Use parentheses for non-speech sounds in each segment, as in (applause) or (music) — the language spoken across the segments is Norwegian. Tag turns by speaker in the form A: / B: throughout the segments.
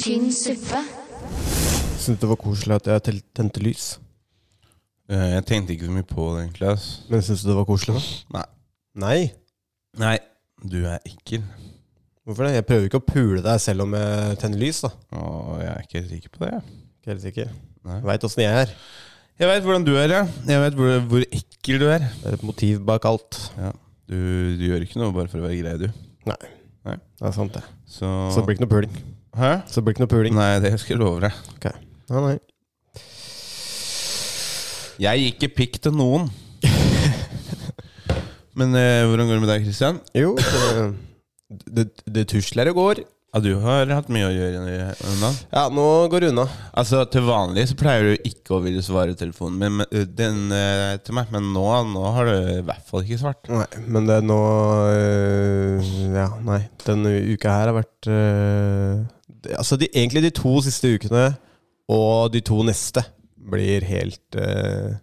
A: tynn suppe.
B: Syntes det var koselig at jeg tel- tente lys.
C: Eh, Jeg tenkte ikke så mye på det, egentlig. ass.
B: Men syns du det var koselig, da?
C: Nei.
B: Nei?
C: Nei, du er ekkel.
B: Hvorfor det? Jeg prøver ikke å pule deg selv om jeg tenner lys, da.
C: Og jeg er ikke helt sikker på det. jeg.
B: Ikke helt sikker.
C: Nei.
B: Jeg veit åssen jeg er.
C: Jeg veit hvordan du er, ja. Jeg veit hvor, hvor ekkel du er.
B: Det er et motiv bak alt.
C: Du, du gjør ikke noe bare for å være grei, du.
B: Det er sant, det.
C: Så,
B: Så det blir ikke noe puling.
C: Hæ?
B: Så det blir ikke noe puling.
C: Nei, det skal jeg love deg.
B: Nei, nei.
C: Jeg gir ikke pikk til noen. (laughs) Men eh, hvordan går det med deg, Christian?
B: Jo, det, (laughs) det, det tusler og går.
C: Ja, du har hatt mye å gjøre i- unna.
B: Ja, nå går det unna.
C: Altså, Til vanlig så pleier du ikke å ville svare telefonen min, men, eh, den, eh, til meg, men nå, nå har du i hvert fall ikke svart.
B: Nei, men det er nå øh, Ja, nei. Denne uka her har vært øh, det, Altså de, egentlig de to siste ukene og de to neste blir helt øh,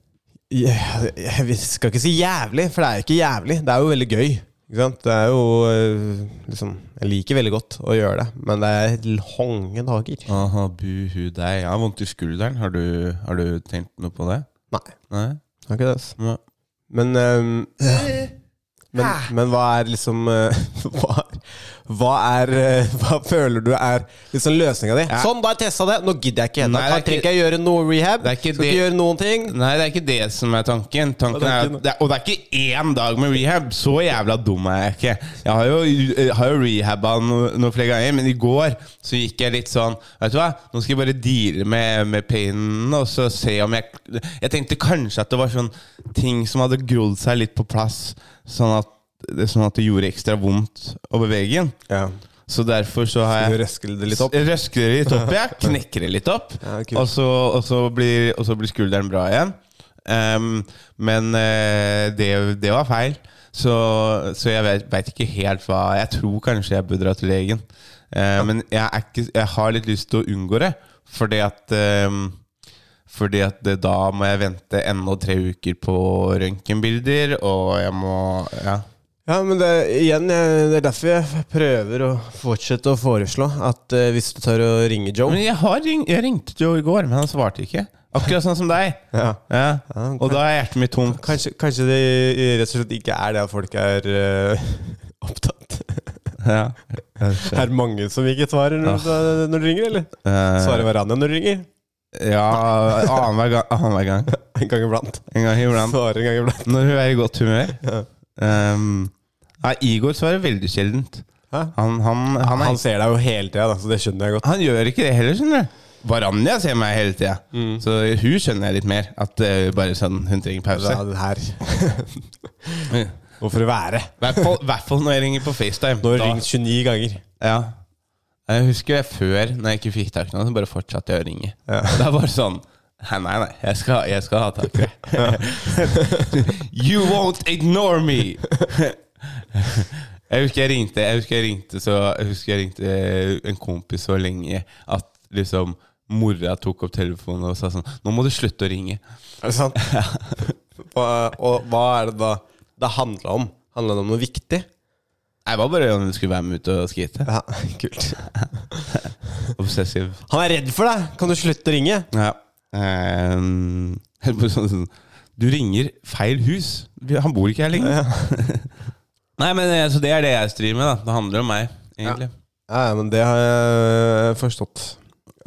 B: jeg, jeg vil- skal ikke si jævlig, for det er ikke jævlig. Det er jo veldig gøy. Ikke sant? Det er jo øh, liksom Jeg liker veldig godt å gjøre det, men det er lange dager.
C: Aha, buhu deg. Jeg har vondt i skulderen. Har du, har du tenkt noe på det?
B: Nei,
C: Nei?
B: det er ikke det. ass.
C: Nei.
B: Men, øhm, men, men hva er liksom øh, (laughs) Hva, hva er øh, Hva føler du er liksom løsninga di?
C: Ja.
B: Sånn, da har jeg testa det! Nå gidder jeg ikke.
C: Nei,
B: Nå
C: det er
B: kan- trenger ikke jeg gjøre noe rehab.
C: Det er ikke
B: Skal
C: det-
B: ikke gjøre noen ting.
C: Nei, det er ikke det som er tanken. tanken er at det, og det er ikke én dag med rehab. Så jævla dum er jeg ikke. Jeg har jo, jeg har jo rehabba no- noen flere ganger, men i går så gikk jeg litt sånn Vet du hva, nå skal jeg bare deale med, med painen og så se om jeg Jeg tenkte kanskje at det var sånn ting som hadde grodd seg litt på plass, sånn at, sånn at det gjorde ekstra vondt å bevege den.
B: Ja,
C: Så derfor så har jeg
B: Du røsker det litt opp.
C: Røsker det litt opp, ja. (laughs) Knekker det litt opp.
B: Ja, kult.
C: og, så, og, så blir, og så blir skulderen bra igjen. Ehm, men eh, det, det var feil. Så, så jeg vet, vet ikke helt hva Jeg tror kanskje jeg bør dra til legen. Eh, Men jeg, er ikke, jeg har litt lyst til å unngå det, fordi at ehm, fordi at det, da må jeg vente enda tre uker på røntgenbilder, og jeg må Ja.
B: Ja, men det, igjen, jeg, det er derfor jeg prøver å fortsette å foreslå at øh, hvis du tør å ringe Joe
C: Men jeg, har ring, jeg ringte jo i går, men han svarte ikke. Akkurat sånn som deg.
B: ja.
C: Ja.
B: Ja, ok.
C: Og da er hjertet mitt tomt.
B: Kanskje, kanskje det rett og slett ikke er det at folk er øh, (laughs) opptatt.
C: Ja.
B: Er det mange som ikke svarer når, når du ringer, eller?
C: Eh,
B: Svarer hverandre når du ringer?
C: ja, annenhver gang, annenhver gang.
B: En gang iblant.
C: En gang
B: (laughs)
C: iblant.
B: Svarer en gang iblant.
C: Når hun er i godt humør.
B: Ja.
C: Um, ja, Igor svarer veldig sjeldent.
B: Hæ?
C: Han, han,
B: Han,
C: han, er,
B: ser deg jo hele tida, da, så det skjønner jeg godt.
C: han gjør ikke det heller, skjønner du. Varanja ser meg hele tida,
B: Mm.
C: så hun skjønner jeg litt mer. At eh, bare sånn, hun trenger
B: Ja,
C: pause.
B: det her. (laughs)
C: I
B: Hvorfor være?
C: hvert fall- i hvert fall når jeg ringer på FaceTime.
B: Nå har du
C: Da-
B: ringt 29 ganger.
C: Ja. Jeg husker jeg før, når jeg ikke fikk tak i noen, så bare fortsatte jeg å ringe. Det er bare sånn Nei, nei, nei. Jeg skal, jeg skal ha tak i det. (laughs) you won't ignore me! jeg husker jeg ringte Jeg husker jeg ringte, så, jeg husker jeg ringte eh, en kompis så lenge at liksom mora tok opp telefonen og sa sånn Nå må du slutte å ringe.
B: Er det sant? (laughs) hva, og hva er det da det handla om? Handla det om noe viktig?
C: Jeg var bare om du skulle være med ut og skate.
B: Ja, (laughs) kult.
C: Obsessiv.
B: Han er redd for deg! Kan du slutte å ringe?
C: Ja. (laughs) Ehm, helt på sånn, sånn, du ringer feil hus. Vi- Han bor ikke her lenger. Nei, men eh, Så det er det jeg streamer med. da Det handler om meg, egentlig.
B: Ja, ja, men det har jeg forstått.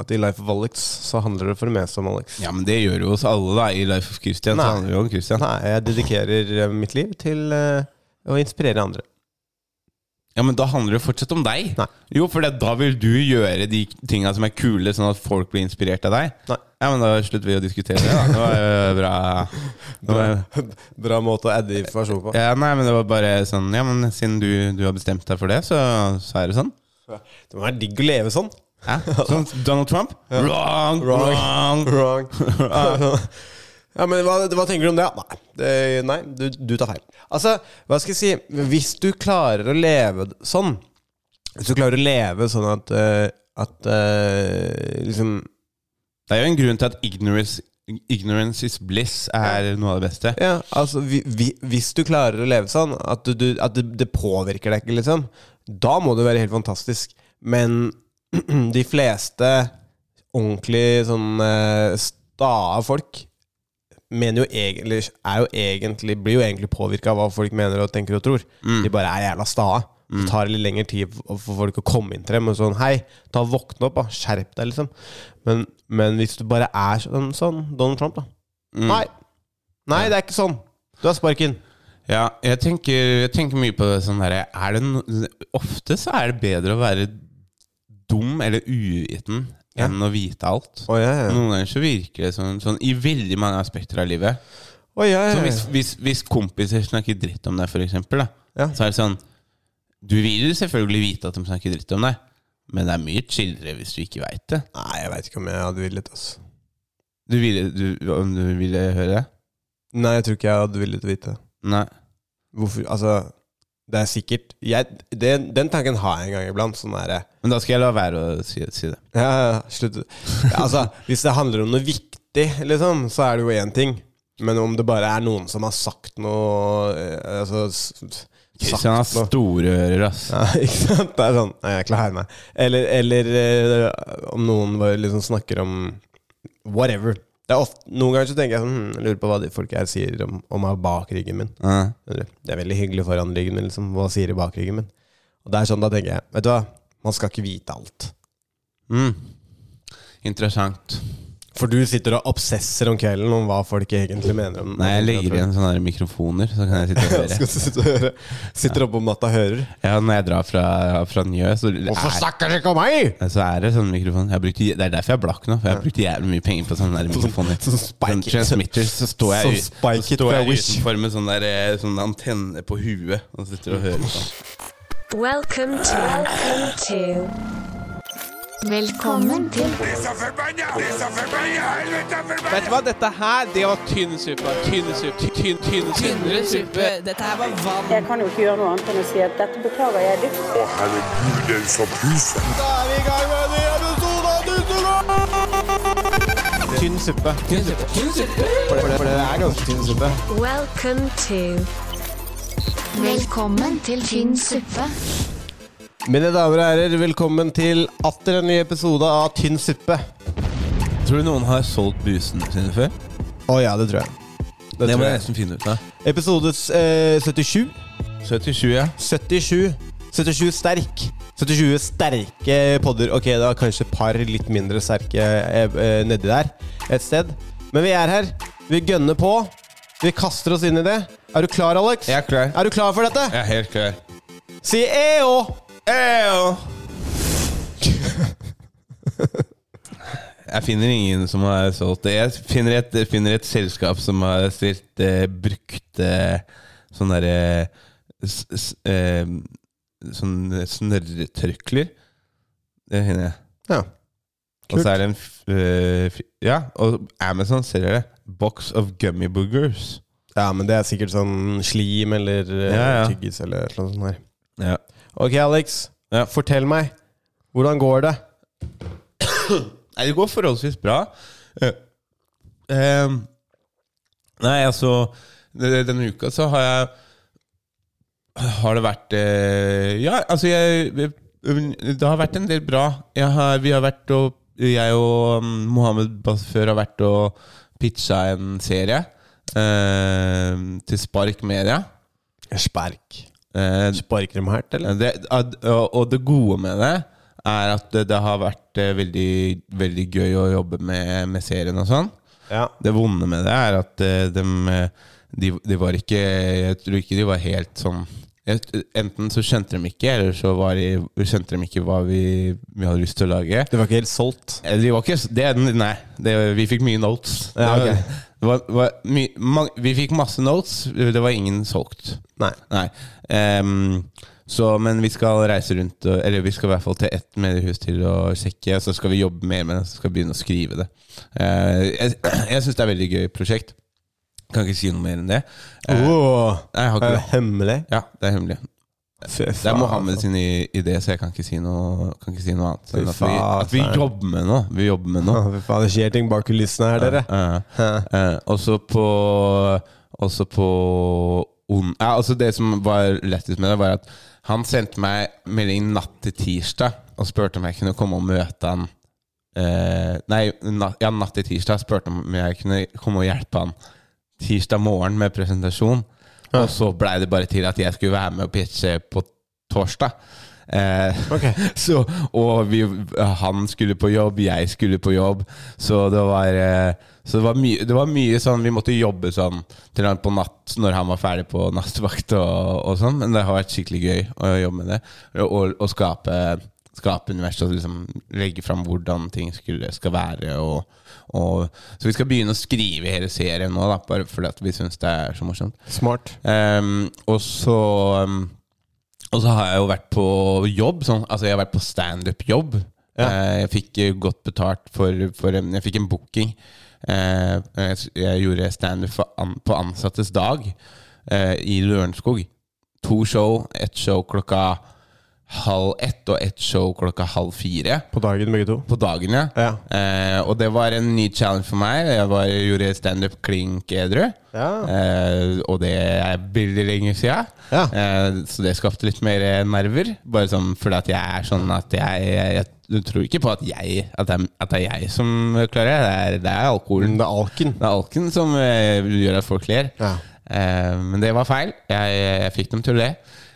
B: At i Life of Alex så handler det for det meste om Alex.
C: Ja, men det gjør jo oss alle, da. I Life of Christian.
B: Nei.
C: Så handler det jo om Christian.
B: Nei, jeg dedikerer eh, mitt liv til eh, å inspirere andre.
C: Ja, men da handler det fortsatt om deg.
B: Nei.
C: Jo, for det- da vil du gjøre de tinga som er kule, sånn at folk blir inspirert av deg.
B: Nei.
C: Ja, men da slutter vi å diskutere det, da. Det var jo bra. Det (laughs) var,
B: (laughs) Bra måte å adde informasjon på.
C: ja, nei, men det var bare sånn Ja, men siden du, du har bestemt deg for det, så, så er det sånn.
B: Det må være digg å leve sånn.
C: Hæ? Sånn Donald Trump? Wrong! Wrong!
B: Wrong. sånn. ja, men hva, hva tenker du om det? Nei, det, nei du, du tar feil. Altså, hva skal jeg si Hvis du klarer å leve d- sånn Hvis du klarer å leve sånn at eh, At eh, liksom
C: Det er jo en grunn til at ignorance, ignorance is bliss er noe av det beste.
B: Ja, altså vi, vi, Hvis du klarer å leve sånn at, du, du, at det, det påvirker deg ikke, liksom, da må det være helt fantastisk. Men (clears throat) de fleste ordentlig sånn eh, sta folk mener jo egentlig, er jo egentlig blir jo egentlig påvirka av hva folk mener og tenker og tror. De bare er jævla sta. Det tar litt lengre tid f- for folk å komme inn til dem. Og sånn, hei, ta våkne opp, da. skjerp deg, liksom. Men, men hvis du bare er sånn, sånn Donald Trump, da. Nei. Nei, det er ikke sånn. Du har sparken.
C: Ja, jeg tenker, jeg tenker mye på det sånn derre er det no, Ofte så er det bedre å være dum eller uviten enn å vite alt.
B: Å, ja, ja.
C: Noen ganger så virker det sånn, sånn i veldig mange aspekter av livet.
B: Å, ja,
C: Så hvis, hvis, hvis kompiser snakker dritt om deg, for eksempel, da,
B: Ja.
C: så er det sånn Du vil selvfølgelig vite at de snakker dritt om deg, men det er mye chillere hvis du ikke veit det.
B: Nei, jeg veit ikke om jeg hadde villet, altså.
C: Du ville, du, om du ville høre det?
B: Nei, jeg tror ikke jeg hadde villet vite.
C: Nei.
B: Hvorfor, altså Det er sikkert jeg, det, Den tanken har jeg en gang iblant. Sånn er det.
C: Men da skal jeg la være å si, si det.
B: Ja, ja, ja, slutt. Ja, altså, hvis det handler om noe viktig, liksom, så er det jo én ting. Men om det bare er noen som har sagt noe eh, Altså s- s- sagt
C: Kristian har
B: noe.
C: store ører, ass.
B: Ja, (laughs) ikke sant? Det er sånn Nei, jeg klarer meg. Eller, eller eh, om noen bare liksom snakker om whatever. Det er ofte, noen ganger så tenker jeg sånn hm, jeg Lurer på hva de folk her sier om, om meg bak ryggen min.
C: Ja.
B: Skjønner du? Det er veldig hyggelig foran ryggen min, liksom. Hva sier de bak ryggen min? Og det er sånn, da tenker jeg Vet du hva? Man skal ikke vite alt.
C: Mm. Interessant.
B: For du sitter og obsesser om kvelden om hva folk egentlig mener om
C: Nei, jeg legger
B: (laughs)
C: igjen sånne der mikrofoner, så kan jeg sitte og høre.
B: Skal du sitte og høre? Sitter oppe om natta og hører.
C: Ja, når jeg drar fra, fra Njø, så er,
B: snakker dere ikke om meg?!
C: så er det sånne mikrofoner. Jeg har brukt, det er derfor jeg er blakk nå, for jeg har brukt jævlig mye penger på sånne der mikrofoner.
B: Sånn
C: Sånn
B: spike
C: transmitter, så står jeg,
B: Sånn
C: ut-
B: spike it
C: så står
B: fra
C: jeg
B: Wish.
C: utenfor med sånn der, eh, sånn antenne på huet og sitter og hører sånn.
A: Welcome to Welcome to Velkommen til
D: Esa Ferbaña, esa Ferbaña, el Beta Ferbaña.
E: Vet du hva, dette her, det var tynn suppe. Tynn suppe. Tynn, tynn,
F: Tynnere suppe. Dette her var vann.
G: Jeg kan jo ikke gjøre noe annet enn å si at dette beklager jeg dypt.
D: Ojalá el Gulden Sopisa.
B: Da er vi i gang med en ny episode av Dusseland! Tynn suppe. For det, for det er ganske tynn suppe.
A: Welcome to Velkommen til tynn suppe.
B: Mine damer og herrer, velkommen til atter en ny episode av Tynn suppe.
C: Tror du noen har solgt busene sine før?
B: Å ja, det tror jeg. Det,
C: Det
B: tror
C: må jeg
B: jeg.
C: nesten finne ut av.
B: Episode eh, 77.
C: 77, ja.
B: 77. 77 sterk. 77 sterke podder. Ok, det var kanskje et par litt mindre sterke eh, eh, nedi der et sted. Men vi er her. Vi gønner på. Vi kaster oss inn i det. Er du klar, Alex?
C: Jeg er klar.
B: Er du klar for dette?
C: Jeg er helt klar.
B: Si EO!
C: Eyo! (laughs) Jeg finner ingen som har solgt det. Jeg finner et, finner et selskap som har stilt eh, brukte sånn derre s- s- eh, Sånn snørretørklær. Det finner jeg.
B: Ja.
C: Og så er det en f- eh, f- Ja, og Amazon selger det. Box of gummy boogers.
B: ja, men det er sikkert sånn slim eller eh,
C: Ja, ja.
B: tyggis eller noe sånt her.
C: Ja.
B: Ok, Alex.
C: Ja.
B: Fortell meg. Hvordan går det?
C: Nei, det går forholdsvis bra. Eh, ehm, nei, altså de- Denne uka så har jeg Har det vært eh, Ja, altså jeg Det har vært en del bra. Jeg har, vi har vært og Jeg og mm, Mohammed Basfør har vært og pitcha en serie ehm, til Spark Media.
B: Spark.
C: Eh,
B: Sparker dem hardt, eller?
C: det, ad- og og det gode med det er at det, det har vært eh, veldig, veldig gøy å jobbe med, med serien og sånn.
B: Ja.
C: Det vonde med det er at eh, dem, eh, de, de var ikke Jeg tror ikke de var helt sånn jeg- Enten så skjønte de ikke, eller så var de, skjønte de ikke hva vi, vi hadde lyst til å lage.
B: Det var ikke helt solgt.
C: Eh, De var ikke s- det, Nei, det, vi fikk mye notes.
B: Ja,
C: Det var-
B: ok.
C: det var, var my, mang- vi fikk masse notes, det var ingen solgt.
B: Nei.
C: Nei. Ehm, så, men vi skal reise rundt, og- eller vi skal i hvert fall til ett mediehus til å sjekke. Så skal vi jobbe mer med det, så skal vi begynne å skrive det. Eh, jeg (clears throat) jeg syns det er et veldig gøy prosjekt. Kan ikke si noe mer enn det. Eh,
B: Åh,
C: nei, jeg har
B: er det
C: ikke det.
B: hemmelig?
C: Ja, det er hemmelig.
B: Fy
C: Det er
B: Eh. faen. altså.
C: Mohammed sin i- idé, så jeg kan ikke si noe, kan ikke si noe annet. Enn at vi,
B: faen,
C: at vi
B: faen.
C: jobber med noe. Vi jobber med noe.
B: Å, Fy faen, det skjer ting bak kulissene her, dere.
C: Ja, ja. Eh, Også på Også på on, ja, altså Det som var lettest med det, var at Han sendte meg melding natt til tirsdag og spurte om jeg kunne komme og møte han eh, Nei, natt, ja, natt til tirsdag spurte om jeg kunne komme og hjelpe han tirsdag morgen med presentasjon. Og så blei det bare til at jeg skulle være med og pitche på torsdag. Eh, (laughs) så, og vi, han skulle på jobb, jeg skulle på jobb. Så det var, eh, så det var, mye, det var mye sånn Vi måtte jobbe sånn til langt på natt når han var ferdig på nattvakt og, og sånn. Men det har vært skikkelig gøy å jobbe med det. Og, og, og skape, skape universet og liksom legge fram hvordan ting skulle, skal være. Og, og, så vi skal begynne å skrive hele serien nå, da, bare fordi at vi syns det er så morsomt.
B: Smart.
C: Ehm, og så ehm, Og så har jeg jo vært på jobb. Sånn, altså jeg har vært på standup-jobb.
B: Ja.
C: Eh, jeg fikk eh, godt betalt for, for en, Jeg fikk en booking. Eh, jeg, s- jeg gjorde standup for an, på ansattes dag eh, i Lørenskog. To show. Ett show klokka halv ett og ett show klokka halv fire
B: På dagen, begge to.
C: på dagen, ja.
B: Ja.
C: Eh, og det var en ny challenge for meg. Jeg var, gjorde standup klink edru.
B: Ja.
C: Eh, og det er veldig lenge siden.
B: Ja.
C: Eh, så det skapte litt mer eh, nerver. Bare sånn fordi at jeg er sånn at jeg, jeg, jeg du tror ikke på at, jeg, at, det er, at det er jeg som klarer det. Det er, det er alkoholen.
B: Men det er alken.
C: Det er alken som eh, gjør at folk ler.
B: Mm. Ja.
C: Eh, men det var feil. Jeg, jeg fikk dem til å le.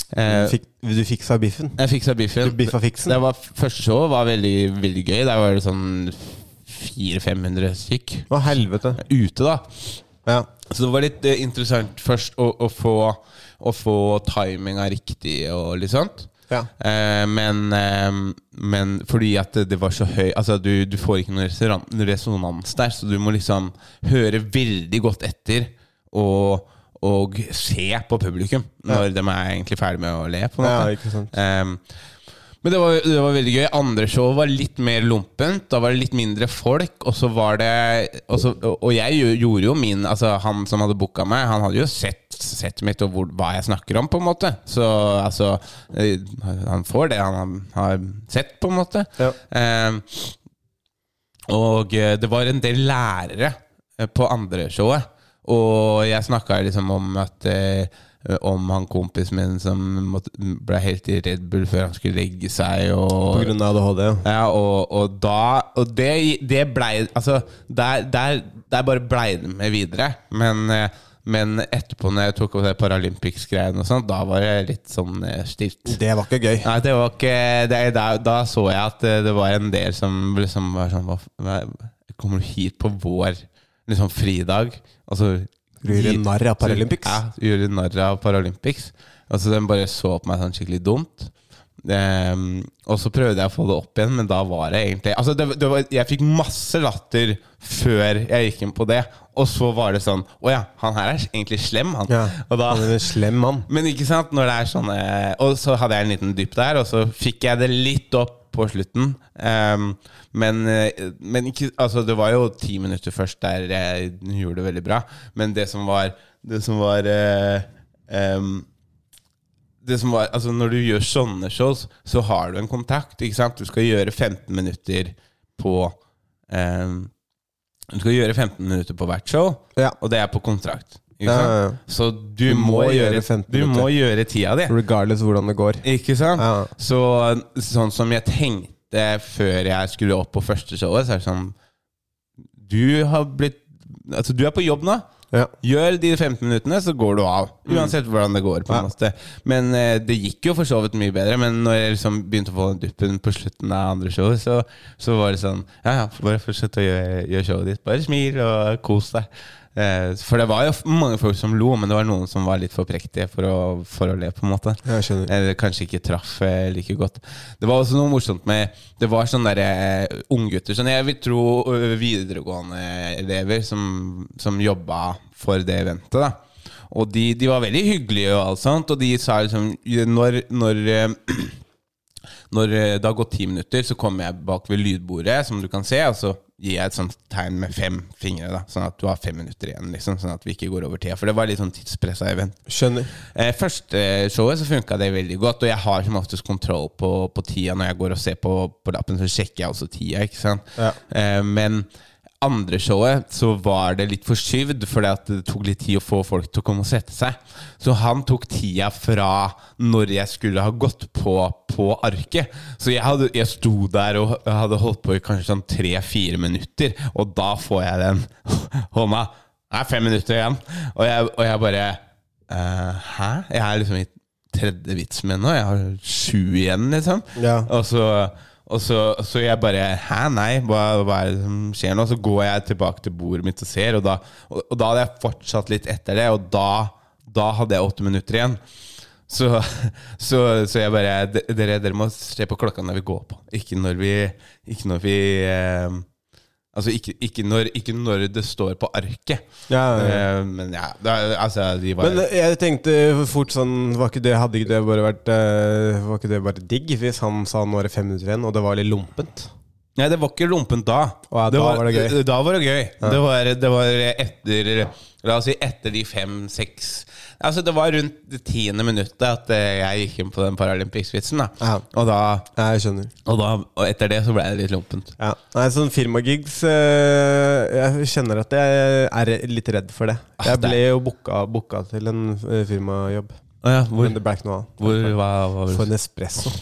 C: Eh,
B: Fikk, du fiksa biffen.
C: jeg fiksa biffen.
B: Du biffa fiksen?
C: Det var, første showet var veldig, veldig gøy. Der var det sånn 400-500 stykk.
B: Å, helvete.
C: Ute, da.
B: Ja.
C: Så det var litt eh, interessant først å, å få, å få timinga riktig og litt sånt.
B: Ja.
C: Eh, men, eh, men fordi at det, det var så høy Altså du, du får ikke noen resonan- resonans der, så du må liksom høre veldig godt etter og, og se på publikum når de er egentlig ferdig med å le. på en
B: Ja,
C: måte.
B: ikke sant.
C: Ehm, men det var, det var veldig gøy. Andre show var litt mer lumpent. Da var det litt mindre folk. Og så var det Og, så, og jeg jo- gjorde jo min Altså Han som hadde booka meg, han hadde jo sett settet mitt og hvor, hva jeg snakker om, på en måte. Så altså eh, Han får det han har sett, på en måte.
B: Ja.
C: Ehm, og eh, det var en del lærere eh, på andre showet. Og jeg snakka liksom om at eh, om han kompisen min som måtte, ble helt i Red Bull før han skulle legge seg.
B: På
C: Og,
B: grunn av ADHD. ja.
C: ja, og, og da Og det, det blei Altså, der, der, der bare blei det med videre. Men, eh, men etterpå, når jeg tok opp det Paralympics-greiene og sånn, da var det litt sånn eh, stilt.
B: Det var ikke gøy.
C: Nei, det var ikke det, da, da så jeg at eh, det var en del som liksom var sånn hva, hva, Kommer du hit på vår liksom fridag? Og så
B: Du gjør narr av
C: så-
B: Paralympics?
C: Ja, gjorde narr av Paralympics. Og så den bare så på meg sånn skikkelig dumt. Ehm, og så prøvde jeg å få det opp igjen, men da var det egentlig Altså, det, det var, jeg fikk masse latter før jeg gikk inn på det, og så var det sånn Å ja, han her er egentlig slem, han.
B: Ja.
C: Og da,
B: Han er en slem mann.
C: men ikke sant, når det er sånn eh, Og så hadde jeg en liten dypp der, og så fikk jeg det litt opp på slutten. Ehm, men, eh, men ikke Altså, det var jo ti minutter først der jeg gjorde det veldig bra, men det som var Det som var eh, ehm, det som var, altså Når du gjør sånne shows, så har du en kontakt. ikke sant? Du skal gjøre 15 minutter på ehm, Du skal gjøre 15 minutter på hvert show,
B: Ja.
C: og det er på kontrakt. Ikke
B: Ja,
C: sant?
B: ja, ja.
C: Så du, må, gjøre,
B: 15
C: du må
B: minutter.
C: gjøre tida di.
B: Regardless hvordan det går.
C: Ikke sant?
B: Ja.
C: Så, sånn som jeg tenkte før jeg skulle opp på første showet, så er det sånn Du har blitt Altså, du er på jobb nå.
B: Ja.
C: Gjør de 15 minuttene, så går du av. Uansett hvordan det går. på en
B: Ja.
C: måte Men eh, det gikk jo for så vidt mye bedre. Men når jeg liksom begynte å få den duppen på slutten av andre show, så, så var det sånn Ja, ja, bare fortsett å gjøre, gjøre showet ditt. Bare smil og kos deg. Eh, for det var jo f- mange folk som lo, men det var noen som var litt for prektige for å, for å le, på en måte.
B: Jeg skjønner.
C: Eller kanskje ikke traff eh, like godt. Det var også noe morsomt med Det var sånne der, eh, unggutter sånn, Jeg vil tro eh, videregående elever som, som jobba for det eventet. da Og de, de var veldig hyggelige og alt sånt, og de sa liksom Når, når eh, (clears throat) når eh, det har gått ti minutter, så kommer jeg bak ved lydbordet, som du kan se, og så gir jeg et sånt tegn med fem fingre, da, sånn at du har fem minutter igjen. Liksom, sånn at vi ikke går over tida. For det var litt sånn tidspressa event.
B: Skjønner.
C: Eh, første showet så funka det veldig godt, og jeg har som oftest kontroll på, på tida. Når jeg går og ser på, på lappen, så sjekker jeg også tida. ikke sant?
B: Ja.
C: Eh, men andre showet så var det litt forskyvd, fordi at det tok litt tid å få folk til å komme og sette seg. Så han tok tida fra når jeg skulle ha gått på på arket. Så jeg, hadde, jeg sto der og hadde holdt på i kanskje sånn tre-fire minutter, og da får jeg den (laughs) hånda. Det er fem minutter igjen. Og jeg, og jeg bare eh, Hæ? Jeg er liksom i tredje vits med nå. Jeg har sju igjen, liksom.
B: Ja.
C: Og så, og så, så jeg bare Hæ, nei, hva, hva er det som skjer nå? Så går jeg tilbake til bordet mitt og ser, og da, og, og da hadde jeg fortsatt litt etter det, og da, da hadde jeg åtte minutter igjen. Så, så, så jeg bare "D- dere, dere må se på klokka når vi går på, ikke når vi, ikke når vi eh, Altså ikke, ikke, når, ikke når det står på arket.
B: Ja, ja, ja.
C: Eh, men ja, da, altså de var
B: Men eh, jeg tenkte fort sånn Var ikke det, hadde ikke det bare vært eh, Var ikke det bare digg hvis han sa nå er det fem minutter igjen, og det var litt lompent?
C: Nei, det var ikke lompent da.
B: Å, ja, da var det gøy.
C: Da var det gøy. Det, var, det var etter La oss si etter de fem-seks Altså Det var rundt det tiende minuttet at eh, jeg gikk inn på den Paralympics-vitsen. da
B: Ja.
C: og, da-
B: Ja, jeg skjønner.
C: og da Og etter det så ble det litt lompent.
B: Ja. Nei, sånn firmagigs eh, Jeg kjenner at jeg er litt redd for det.
C: Ah,
B: Jeg
C: det er-
B: ble jo booka, booka til en eh, firmajobb,
C: Å ja, hvor,
B: men det ble ikke noe av.
C: hvor hva, hva var det?
B: For en espresso.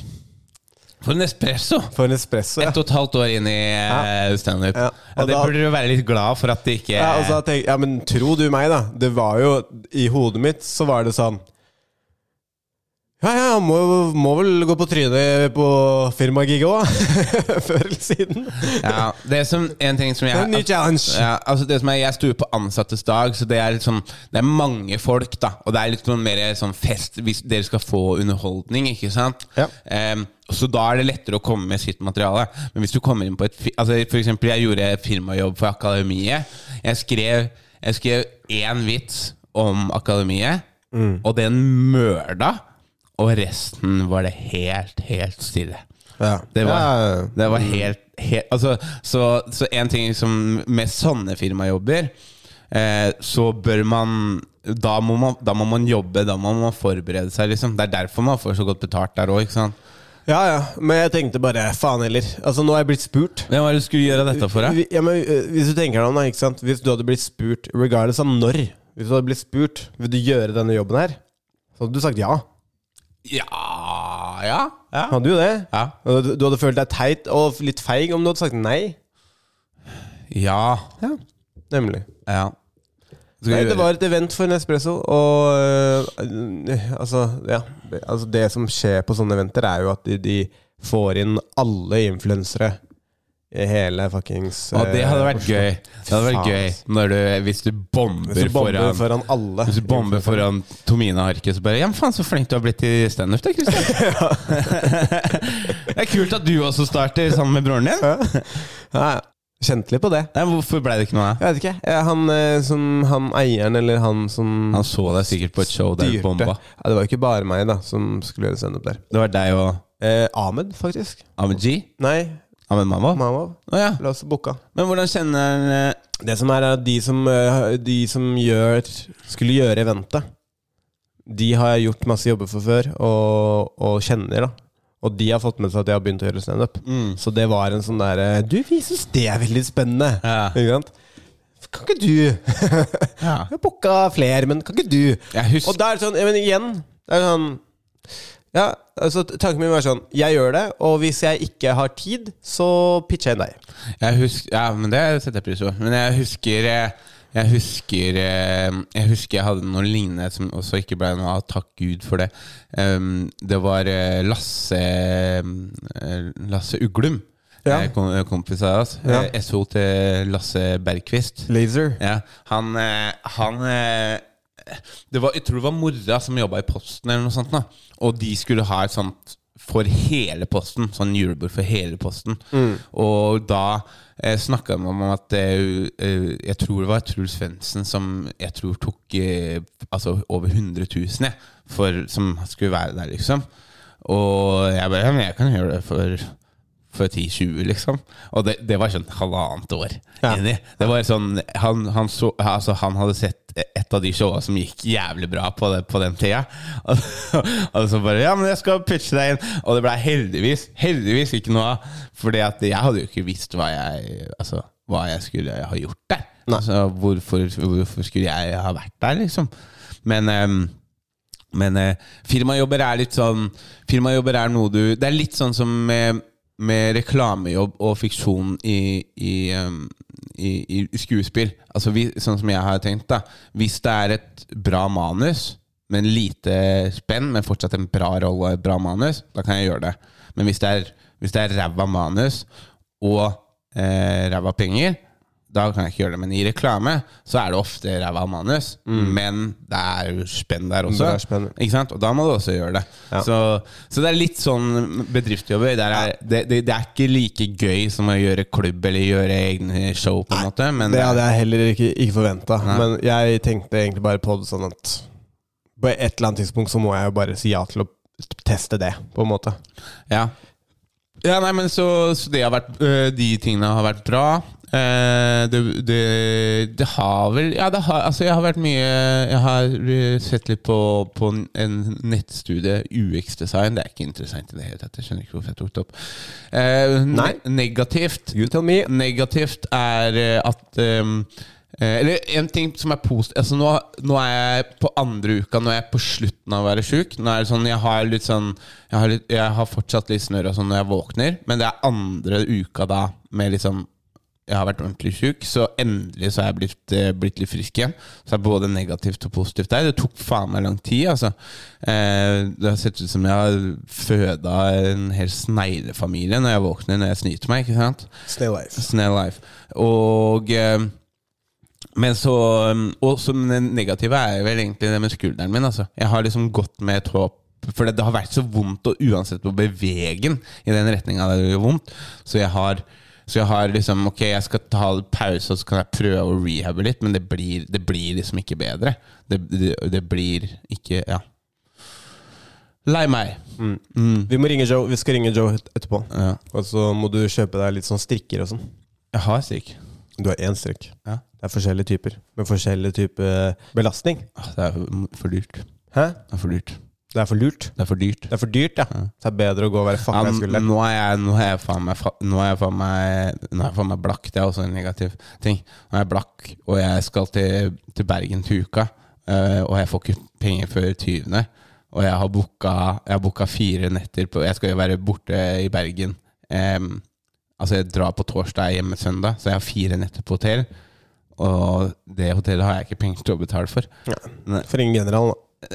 C: For en espresso!
B: For en espresso, ja.
C: Ett og et halvt år inn i eh, standup.
B: Ja,
C: Ja.
B: og
C: det
B: da-
C: burde du være litt glad for at det ikke
B: Ja, altså- og så tenk, ja, men tro du meg, da. Det var jo I hodet mitt så var det sånn Ja, ja, må, må vel gå på trynet på firmagig òg. (laughs) Før eller siden.
C: Ja, det er som, en ting som jeg
B: Det er en ny challenge.
C: Ja, altså det som er, jeg sto jo på ansattes dag, så det er, litt sånn, det er mange folk, da. Og det er litt sånn mer sånn fest hvis dere skal få underholdning, ikke sant?
B: Ja.
C: Ehm, så da er det lettere å komme med sitt materiale. Men hvis du kommer inn på et fi- altså For eksempel, jeg gjorde firmajobb for Akademiet. Jeg skrev, jeg skrev én vits om Akademiet, og den mørda. Og resten var det helt, helt stille.
B: Ja. Ja,
C: Det
B: ja,
C: var,
B: ja.
C: det var helt, helt altså, så, så en ting som med sånne firmajobber eh, Så bør man da, må man da må man jobbe, da må man forberede seg. Liksom. Det er derfor man får så godt betalt der òg.
B: Ja, ja. Men jeg tenkte bare faen heller. Altså, nå er jeg blitt spurt.
C: Hvem var det du skulle gjøre dette for? Da?
B: Vi- Ja, men, eh, hvis du tenker deg om, da. Ikke sant? Hvis du hadde blitt spurt regardless av når Hvis du hadde blitt spurt Vil du gjøre denne jobben her, så hadde du sagt ja.
C: Ja ja, ja.
B: Hadde jo det.
C: ja.
B: Og Du, du hadde følt deg teit og litt feig om du hadde sagt nei.
C: Ja.
B: Ja, Nemlig.
C: ja. Skal
B: Nei,
C: vi
B: det
C: gjøre-
B: var et event for Nespresso, og øh, altså, ja, det, altså Det som skjer på sånne eventer, er jo at de, de får inn alle influensere i hele fuckings
C: og det hadde
B: øh,
C: vært
B: Oslo.
C: gøy. Det hadde vært
B: Faen,
C: gøy
B: ass.
C: når du, hvis du bomber,
B: Hvis du bomber
C: foran
B: foran alle.
C: Hvis du bomber foran Tomina Harket, så bare Ja, men faen, så flink du har blitt i standup, da,
B: (laughs)
C: Kristian. (laughs) det er kult at du også starter sammen med broren din.
B: Ja, kjente litt på det.
C: Nei, Hvorfor ble det ikke noe av?
B: Jeg vet ikke. eh, Han, eh, som, han eieren, eller han som
C: Han så deg sikkert på et show der du
B: styrte-
C: bomba.
B: Ja, Det var jo ikke bare meg da som skulle gjøre standup der.
C: Det var deg og
B: Eh, Ahmed, faktisk.
C: Ahmed G.
B: Nei,
C: Ahmed Mamma.
B: Mahmoud.
C: Å ja.
B: La oss booka.
C: Men hvordan kjenner han eh,
B: Det som er, er at de som, eh, de som gjør, skulle gjøre eventet, de har jeg gjort masse jobber for før, og, og kjenner, da. Og de har fått med seg at jeg har begynt å gjøre standup.
C: Mm.
B: Så det var en sånn derre Du, vi syns det er veldig spennende!
C: Ja.
B: Ikke sant? Kan ikke du? (laughs) Jeg
C: ja.
B: har booka flere, men kan ikke du?
C: Jeg husker
B: Og da er det sånn, ja, men igjen Det er jo sånn ja, altså Tanken min var sånn Jeg gjør det, og hvis jeg ikke har tid, så pitcher jeg inn deg.
C: Jeg husker, ja, men det setter jeg pris på. Men jeg husker eh, jeg husker, eh, jeg husker jeg hadde noe lignende som også ikke ble noe av. Takk Gud for det. Em, Det var eh, Lasse eh, Lasse Uglum.
B: Ja.
C: Eh, kom- eh, Kompis av oss.
B: Ja.
C: Eh, SO til Lasse Bergqvist.
B: Laser.
C: Ja, han, eh, han eh, det var, Jeg tror det var mora som jobba i Posten, eller noe sånt. da Og de skulle ha et sånt for hele Posten, sånn julebord for hele Posten. Og da eh, snakka de om at eh, eh, Jeg tror det var Truls Svendsen som jeg tror tok eh, altså over 100 000, jeg, for, som skulle være der, liksom. Og jeg bare, ja, men jeg kan gjøre det for, for 10-20, liksom. Og det, det var sånn halvannet år
B: Ja.
C: inni. Det var sånn, han, han, så, altså, han hadde sett et av de showene som gikk jævlig bra på, det, på den tida. (laughs) Og, og så bare, ja, men jeg skal pitche deg inn. Og det ble heldigvis, heldigvis ikke noe av. Fordi at jeg hadde jo ikke visst hva jeg, altså... hva jeg skulle ha gjort der.
B: Nei.
C: Altså, hvorfor, hvorfor skulle jeg ha vært der, liksom? Men ehm, men eh, firmajobber er litt sånn Firmajobber er noe du Det er litt sånn som med, med reklamejobb og fiksjon i, i, em, i, i skuespill. Altså vi, sånn som jeg har tenkt, da. Hvis det er et bra manus, men lite spenn, men fortsatt en bra rolle og et bra manus, da kan jeg gjøre det. Men hvis det er, hvis det er ræva manus og eh, ræva penger, da kan jeg ikke gjøre det. Men i reklame så er det ofte ræva manus, men det er jo spenn der også.
B: Det er spenn.
C: Ikke sant? Og da må du også gjøre det. Så, så det er litt sånn bedriftsjobber. Der er, det, det, det er ikke like gøy som å gjøre klubb eller gjøre egne show, på en måte. Men
B: Det hadde jeg heller ikke, ikke forventa. Men jeg tenkte egentlig bare på det sånn at på et eller annet tidspunkt så må jeg jo bare si ja til å teste det, på en måte.
C: Ja. Ja, nei, men så, så det har vært, øh, de tingene har vært bra. Eh, det, det, det har vel Ja, det har, altså jeg har vært mye Jeg har øh, sett litt på, på en nettstudie, UX-design. Det er ikke interessant i det hele tatt. Jeg skjønner ikke hvorfor jeg tok det opp. Eh, ne-
B: Nei.
C: Negativt
B: You tell me.
C: negativt er eh, at ehm, eh, Eller en ting som er positivt altså nå, nå er jeg på andre uka, nå er jeg på slutten av å være sjuk. Nå er det sånn, jeg har litt sånn Jeg har, litt, jeg har fortsatt litt snørr og sånn når jeg våkner, men det er andre uka da med liksom jeg har vært ordentlig syk, så endelig så er jeg blitt, eh, blitt litt frisk igjen. Så det er både negativt og positivt der. Det tok faen meg lang tid, altså. Eh, det har sett ut som jeg har føda en hel sneglefamilie når jeg våkner når jeg snyter meg, ikke sant?
B: Stay alive.
C: Snail Life. Og eh, Men så um, Og som det negative er vel egentlig det med skulderen min, altså. Jeg har liksom gått med et håp. For det, det har vært så vondt, og uansett å bevege den i den retninga det gjør vondt. Så jeg har så jeg har liksom Ok, jeg skal ta en pause, og så kan jeg prøve å rehabe litt, men det blir, det blir liksom ikke bedre. Det, det, det blir ikke Ja. Lei meg.
B: Vi må ringe Joe. Vi skal ringe Joe et- etterpå.
C: Mm. Ja.
B: Og så må du kjøpe deg litt sånn strikker og sånn.
C: Jeg har strikk.
B: Du har én strikk.
C: Ja.
B: Det er forskjellige typer. Med forskjellig type belastning.
C: Åh, Det er for dyrt.
B: Hæ?
C: Det er for dyrt.
B: Det er for lurt.
C: Det er for dyrt.
B: Det er for dyrt, ja. Så det er bedre å gå og være
C: Ja,
B: fucka i skulderen.
C: nå er jeg, nå er jeg faen meg fa- Nå er jeg faen meg Nå er jeg faen meg blakk. Det er også en negativ ting. Nå er jeg blakk, og jeg skal til, til Bergen til uka. eh, og jeg får ikke penger før 20. Og jeg har booka, jeg har booka fire netter på Jeg skal jo være borte i Bergen. Em, altså, jeg drar på torsdag, er hjemme søndag, så jeg har fire netter på hotell. Og det hotellet har jeg ikke penger til å betale for. Nei.
B: For ingen general, da.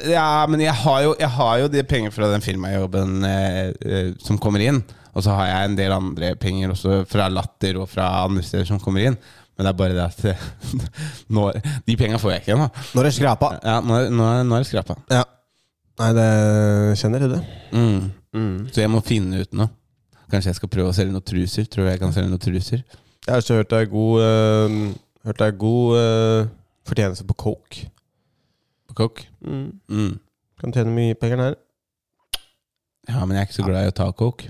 C: Ja, men jeg har jo, jeg har jo de penger fra den firmajobben eh, eh, som kommer inn. Og så har jeg en del andre penger også fra Latter og fra andre steder som kommer inn. Men det er bare det at (laughs) eh, nå, De penga får jeg ikke ennå.
B: Når er skrapa?
C: Ja, nå, er- nå, er- nå er det skrapa.
B: Ja. Nei, det kjenner du det.
C: Mm. Så jeg må finne ut noe. Kanskje jeg skal prøve å selge noen truser. Tror du jeg kan selge noen truser?
B: Jeg har ikke hørt deg god øh, Hørt deg god øh, fortjeneste på coke.
C: På kokk? Mm.
B: Kan tjene mye penger der.
C: Ja, men jeg er ikke så glad i å ta kokk.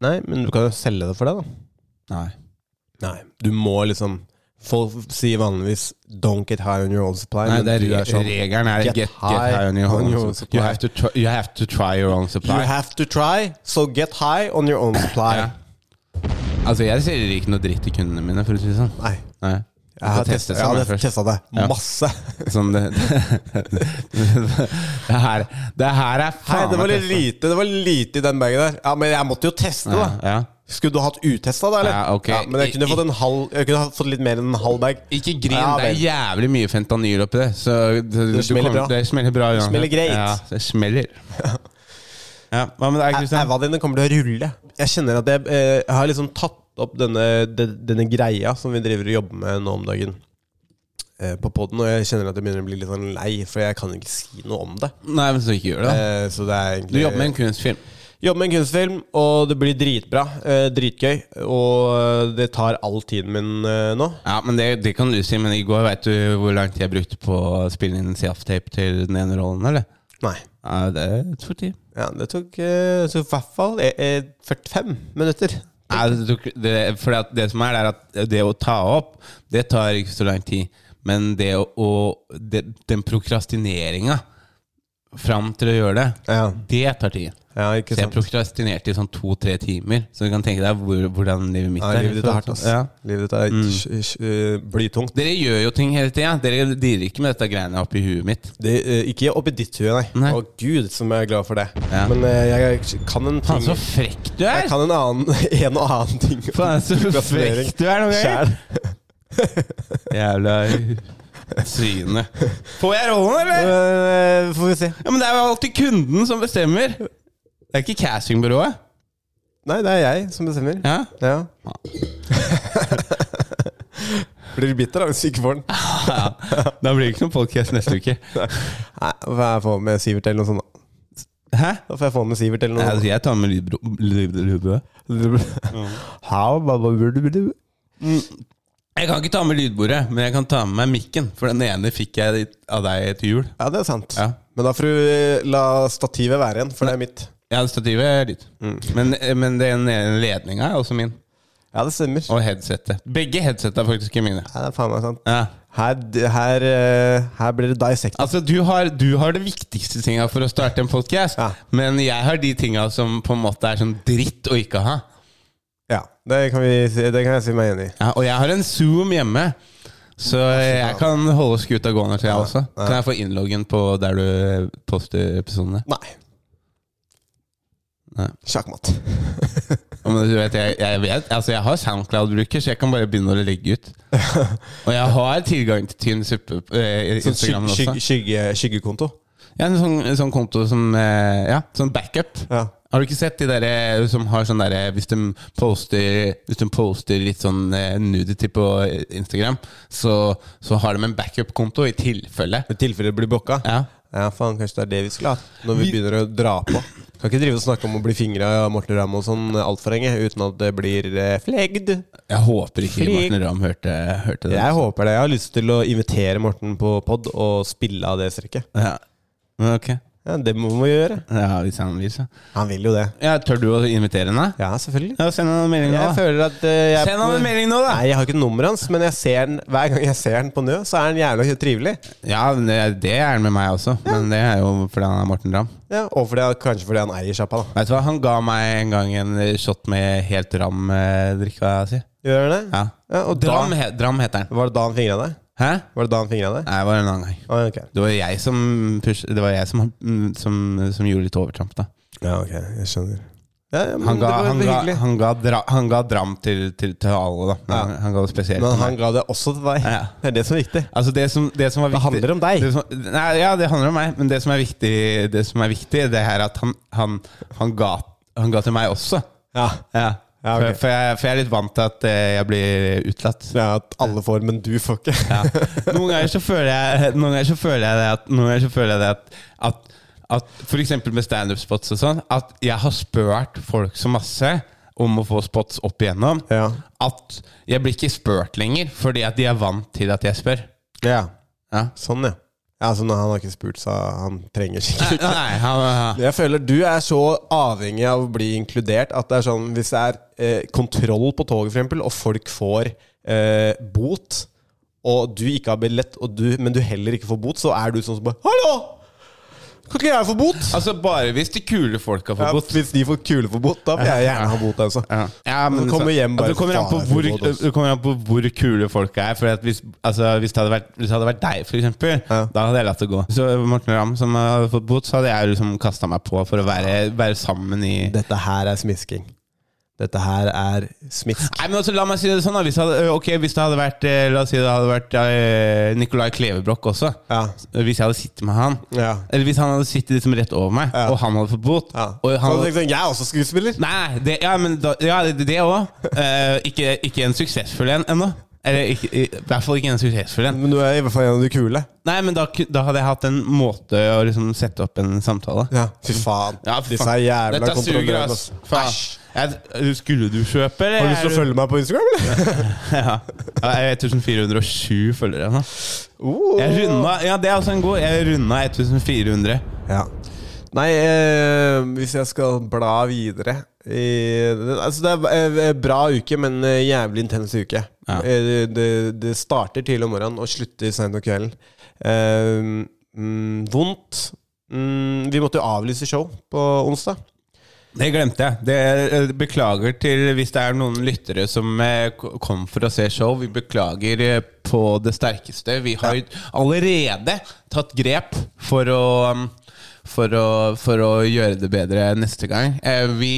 B: Nei, men du kan jo selge det for deg, da.
C: Nei.
B: Nei, du må liksom Folk sier vanligvis 'don't get high on your own supply'.
C: Nei,
B: men
C: det er,
B: du sånn,
C: re- regelen er get, get high on your own supply. You have to try, you have to try your own
B: You
C: supply.
B: have to try, so get high on your own supply.
C: Ja. Altså, jeg selger ikke noe dritt til kundene mine, for å si det sånn.
B: Nei.
C: Nei.
B: Jeg har
C: får teste
B: testet,
C: sammen
B: jeg har
C: først.
B: testet det
C: Ja.
B: masse.
C: Sånn det, (laughs) det, her, det her er
B: Hei,
C: faen
B: det var
C: meg
B: litt lite, det var lite i den bagen der. Ja, Men jeg måtte jo teste,
C: Ja,
B: da.
C: ja.
B: Skulle du hatt utesta, da? eller?
C: Ja, ok.
B: men jeg kunne, fått en halv, jeg kunne ha fått litt mer enn en halv bag.
C: Ikke grin,
B: Ja,
C: det
B: vel.
C: er jævlig mye fentanyl oppi det. Så det, du
B: smeller
C: kommer-
B: bra.
C: Det smeller bra uansett.
B: smeller greit.
C: Ja, det (laughs) smeller. Ja, hva med deg, Kristian?
B: Æva dine kommer til å rulle. Jeg kjenner at jeg, eh, jeg har liksom tatt opp denne, de- denne greia som vi driver og jobber med nå om dagen. eh, På podden, og jeg kjenner at jeg begynner å bli litt sånn lei, for jeg kan ikke si noe om det.
C: Nei, men så ikke gjør det. da.
B: Eh, Så det er egentlig
C: Du jobber med en kunstfilm.
B: Jobber med en kunstfilm, og det blir dritbra. eh, Dritgøy. Og eh, det tar all tiden min eh, nå.
C: Ja, men det, det kan du si, men i går veit du hvor lang tid jeg brukte på å spille inn self-tape til den ene rollen, eller?
B: Nei.
C: Ja, det tok tid.
B: Ja, det tok, eh, det tok i hvert fall eh, eh, 45 minutter.
C: Nei, det, tok- det, fordi at det som er, det er at det å ta opp, det tar ikke så lang tid. Men det å, å det, den prokrastineringa fram til å gjøre det,
B: Ja.
C: det tar tid.
B: Ja, ikke
C: Så jeg
B: sant.
C: prokrastinerte i sånn to-tre timer. Så du kan tenke deg hvor, hvordan livet mitt
B: Nei,
C: er.
B: livet ditt er hardt, ass.
C: Ja. Mm.
B: Livet ditt er sj- sj- blytungt.
C: Dere gjør jo ting hele tida. Dere dirrer ikke med dette greiene oppi huet mitt.
B: Det, eh, ikke oppi ditt hue, nei.
C: Nei.
B: Å gud, som jeg er glad for det.
C: Ja.
B: Men eh, jeg, kan en
C: Faen,
B: ting
C: så frekk du er!
B: Jeg kan en, annen, (laughs) en og annen ting. om
C: Faen, så
B: prokrastinering.
C: frekk du
B: (laughs)
C: er noen ganger!
B: Sjæl.
C: Jævla tryne. Får jeg rollen, eller?
B: Eh, Får vi se.
C: Ja, Men det er jo alltid kunden som bestemmer. Det er ikke castingbyrået.
B: Nei, det er jeg som bestemmer.
C: Ja?
B: Ja. (laughs) Blir du bitter da hvis du ikke
C: (laughs)
B: får den?
C: Da blir det ikke noen podcast neste uke.
B: Nei, da får jeg få med Sivert eller noe sånt. da.
C: Hæ?
B: Da får jeg få med Sivert eller
C: Nei,
B: noe
C: altså, jeg tar med lydbro... lyd- lydbro.
B: sånt. (laughs) How, ba, ba, bu, bu, bu.
C: Jeg kan ikke ta med lydbordet, men jeg kan ta med meg mikken. For den ene fikk jeg av deg til jul.
B: Ja, det er sant.
C: Ja.
B: Men da får du eh, la stativet være igjen, for det er mitt.
C: Ja, stativet er ditt. Men, men den ene ledninga er også min.
B: Ja, det stemmer.
C: Og headsetet. Begge headset er faktisk ikke mine.
B: Ja, det er faen meg sant.
C: Ja.
B: Her, her, eh, her blir det dissect.
C: Altså, du har, du har det viktigste tinga for å starte en podcast,
B: Ja.
C: men jeg har de tinga som på en måte er sånn dritt å ikke ha.
B: Ja, det kan, vi, si- det kan jeg si meg enig i.
C: Ja, og jeg har en Zoom hjemme, så jeg kan holde skuta gående til jeg også.
B: Ja.
C: Kan jeg få innloggen på der du eh, poster episodene?
B: Nei.
C: Nei.
B: Sjakkmatt.
C: Ja, Men du vet, jeg, jeg vet, altså jeg har Soundcloud-bruker, så jeg kan bare begynne å legge
B: (laughs)
C: ut. Og jeg har tilgang til Tynn suppe på eh,
B: Sånn
C: Instagram
B: skygge,
C: også.
B: skygge, skygge, skyggekonto.
C: Ja, en sånn, en sånn konto som eh, Ja, sånn backup.
B: Ja.
C: Har du ikke sett de der som har sånn derre hvis, de poster- hvis de poster litt sånn eh, nudity på Instagram, så, så har de en backup-konto i tilfelle.
B: I tilfelle det blir blokka?
C: Ja.
B: Ja, faen, kanskje det er det vi skulle hatt når vi begynner å dra på. Kan ikke drive og snakke om å bli fingra av Morten Ramm og sånn altfor lenge uten at det blir eh, flegd.
C: Jeg håper ikke
B: Flik.
C: Morten Ramm hørte, hørte det.
B: Jeg håper det. Jeg har lyst til å invitere Morten på pod og spille av det strekket.
C: Ja. Men ok.
B: Ja, det må vi gjøre.
C: Ja, hvis han vil, så.
B: Han vil jo det.
C: Ja, tør du å invitere henne?
B: Ja, selvfølgelig.
C: Ja, send henne en melding nå.
B: Jeg
C: da.
B: føler at eh, jeg
C: Send han en melding nå, da!
B: Nei, jeg har ikke nummeret hans, men jeg ser den, hver gang jeg ser den på nø, så er han jævla trivelig.
C: Ja, men det- det er han med meg også, men det er jo fordi han er Morten Ramm.
B: Ja, og fordi, kanskje fordi han eier sjappa, da.
C: Vet du hva, Han ga meg en gang en shot med helt Ram-drikka si.
B: Gjør han det?
C: Ja.
B: Ja, og
C: Dram,
B: da,
C: he Dram heter han.
B: var det da han fingra deg?
C: Hæ?
B: Var det da han fingra deg?
C: Nei, det var en annen gang.
B: Ah, ok.
C: Det var jeg som, push, det var jeg som, mm, som, som gjorde litt overtramp, da.
B: Ja, ok, jeg skjønner. Ja, ja, men
C: Han ga,
B: Mm, det var
C: han
B: veldig
C: ga,
B: hyggelig.
C: han ga, dra, han ga Dram til, til, til alle, da. Men
B: Ja.
C: Han ga det spesielt. til
B: men
C: meg.
B: han ga det også til deg.
C: Ja.
B: Det er det som er viktig.
C: Altså det som, det som var
B: Det
C: viktig,
B: handler om deg.
C: Det som, nei, ja, det handler om meg, men det som er viktig, det, som er viktig, det er at han, han, han, ga, han ga til meg også.
B: Ja.
C: Ja.
B: Ja, ok.
C: for, for, jeg, for jeg er litt vant til at eh, jeg blir utelatt.
B: Det er at alle får, men du får ikke. (laughs)
C: Ja. Noen ganger så føler jeg, noen ganger så føler jeg det at, noen ganger så føler jeg det at, at, at For eksempel med standup-spots og sånn, at jeg har spurt folk så masse om å få spots opp igjennom,
B: Ja.
C: at jeg blir ikke spurt lenger, fordi at de er vant til at jeg spør.
B: Ja.
C: Ja.
B: Sånn, ja. ja så nå, han har ikke spurt, så han trenger
C: Nei, (laughs)
B: sikkert
C: nei, han, han,
B: Jeg føler du er så avhengig av å bli inkludert at det er sånn hvis det er eh, kontroll på toget, for eksempel, og folk får eh, bot, og du ikke har billett, og du, men du heller ikke får bot, så er du sånn som bare Hallo! Kan ikke jeg få bot?
C: Altså bare hvis de kule folka får
B: Ja,
C: bot.
B: hvis de får kule for bot, da får jeg gjerne ha bot. Altså.
C: Ja, men
B: Du kommer
C: så-
B: hjem bare,
C: altså, det kommer an på
B: faen,
C: hvor,
B: jeg får bot også.
C: det kommer an på hvor kule folka er. For at hvis, altså, hvis, det hadde vært, hvis det hadde vært deg, for eksempel,
B: Ja.
C: da hadde jeg latt det gå. Så Morten Ramm som hadde fått bot, så hadde jeg liksom kasta meg på for å være, være sammen i
B: Dette her er smisking. Dette her er smisk.
C: Nei, men altså, La meg si det sånn, da. Hvis det hadde, ø, ok, hvis det hadde vært eh, La oss si det hadde vært eh, Nicolai Klevebrok også.
B: Ja.
C: Hvis jeg hadde sittet med han.
B: Ja.
C: Eller hvis han hadde sittet liksom rett over meg,
B: Ja.
C: og han hadde fått bot.
B: Ja.
C: Og
B: så
C: han,
B: tenkte jeg sånn, jeg er også skuespiller.
C: Nei, det, ja, men da, ja, det- det òg. ikke, ikke en suksessfull en ennå. Eller ikke, i hvert fall ikke en suksessfull en.
B: Men du er i hvert fall en av de kule.
C: Nei, men da, ku- da hadde jeg hatt en måte å liksom sette opp en samtale.
B: Ja. Fy faen.
C: Ja, faen.
B: Disse er jævla
C: Dette suger,
B: kontrollerende. ass.
C: ass. Faen. Jeg, skulle du kjøpe, eller?
B: Har du lyst til å følge meg på Instagram, eller? (laughs)
C: (laughs) Ja. Jeg er 1407 følgere nå.
B: Oh.
C: Jeg runda, ja, det er også en god Jeg runda 1400.
B: Ja. Nei, eh, hvis jeg skal bla videre i, altså Det er eh, bra uke, men eh, jævlig intens uke.
C: Ja.
B: Eh, det, det starter tidlig om morgenen og slutter seint om kvelden. Eh, mm, vondt. mm, Vi måtte jo avlyse show på onsdag.
C: Det glemte jeg. Det eh, beklager til hvis det er noen lyttere som eh, k- kom for å se show. Vi beklager eh, på det sterkeste. Vi har allerede tatt grep for å, um, for å, for å gjøre det bedre neste gang. Eh, Vi,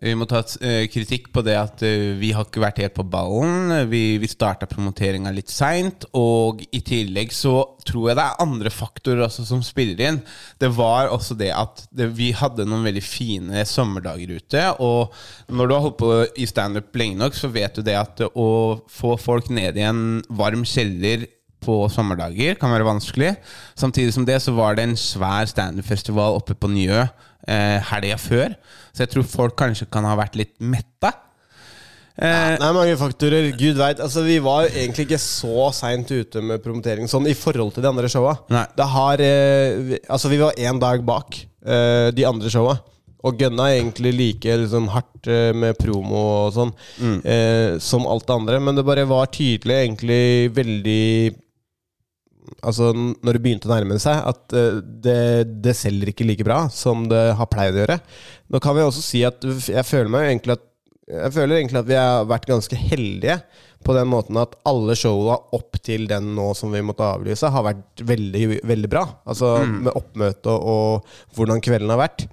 C: vi må ta eh, kritikk på det at eh, vi har ikke vært helt på ballen. Vi, vi starta promoteringa litt seint, og i tillegg så tror jeg det er andre faktorer også som spiller inn. Det var også det at det, vi hadde noen veldig fine sommerdager ute, og når du har holdt på i standup lenge nok, så vet du det at å få folk ned i en varm kjeller på sommerdager kan være vanskelig. Samtidig som det så var det en svær standup-festival oppe på Njø eh, helga før. Så jeg tror folk kanskje kan ha vært litt metta. Eh,
B: Det er mange faktorer. Gud veit. Altså, vi var jo egentlig ikke så seint ute med promotering sånn i forhold til de andre showa.
C: Nei.
B: Det har eh, vi- Altså, vi var én dag bak eh, de andre showa. Og gønna egentlig like liksom, hardt eh, med promo og sånn eh, som alt det andre. Men det bare var tydelig egentlig veldig Altså n- når det begynte å nærme seg, at eh, det, det selger ikke like bra som det har pleid å gjøre. Nå kan vi også si at f- jeg føler meg egentlig at jeg føler egentlig at vi har vært ganske heldige på den måten at alle showa opp til den nå som vi måtte avlyse, har vært veldig, veldig bra. Altså med oppmøte og hvordan kvelden har vært.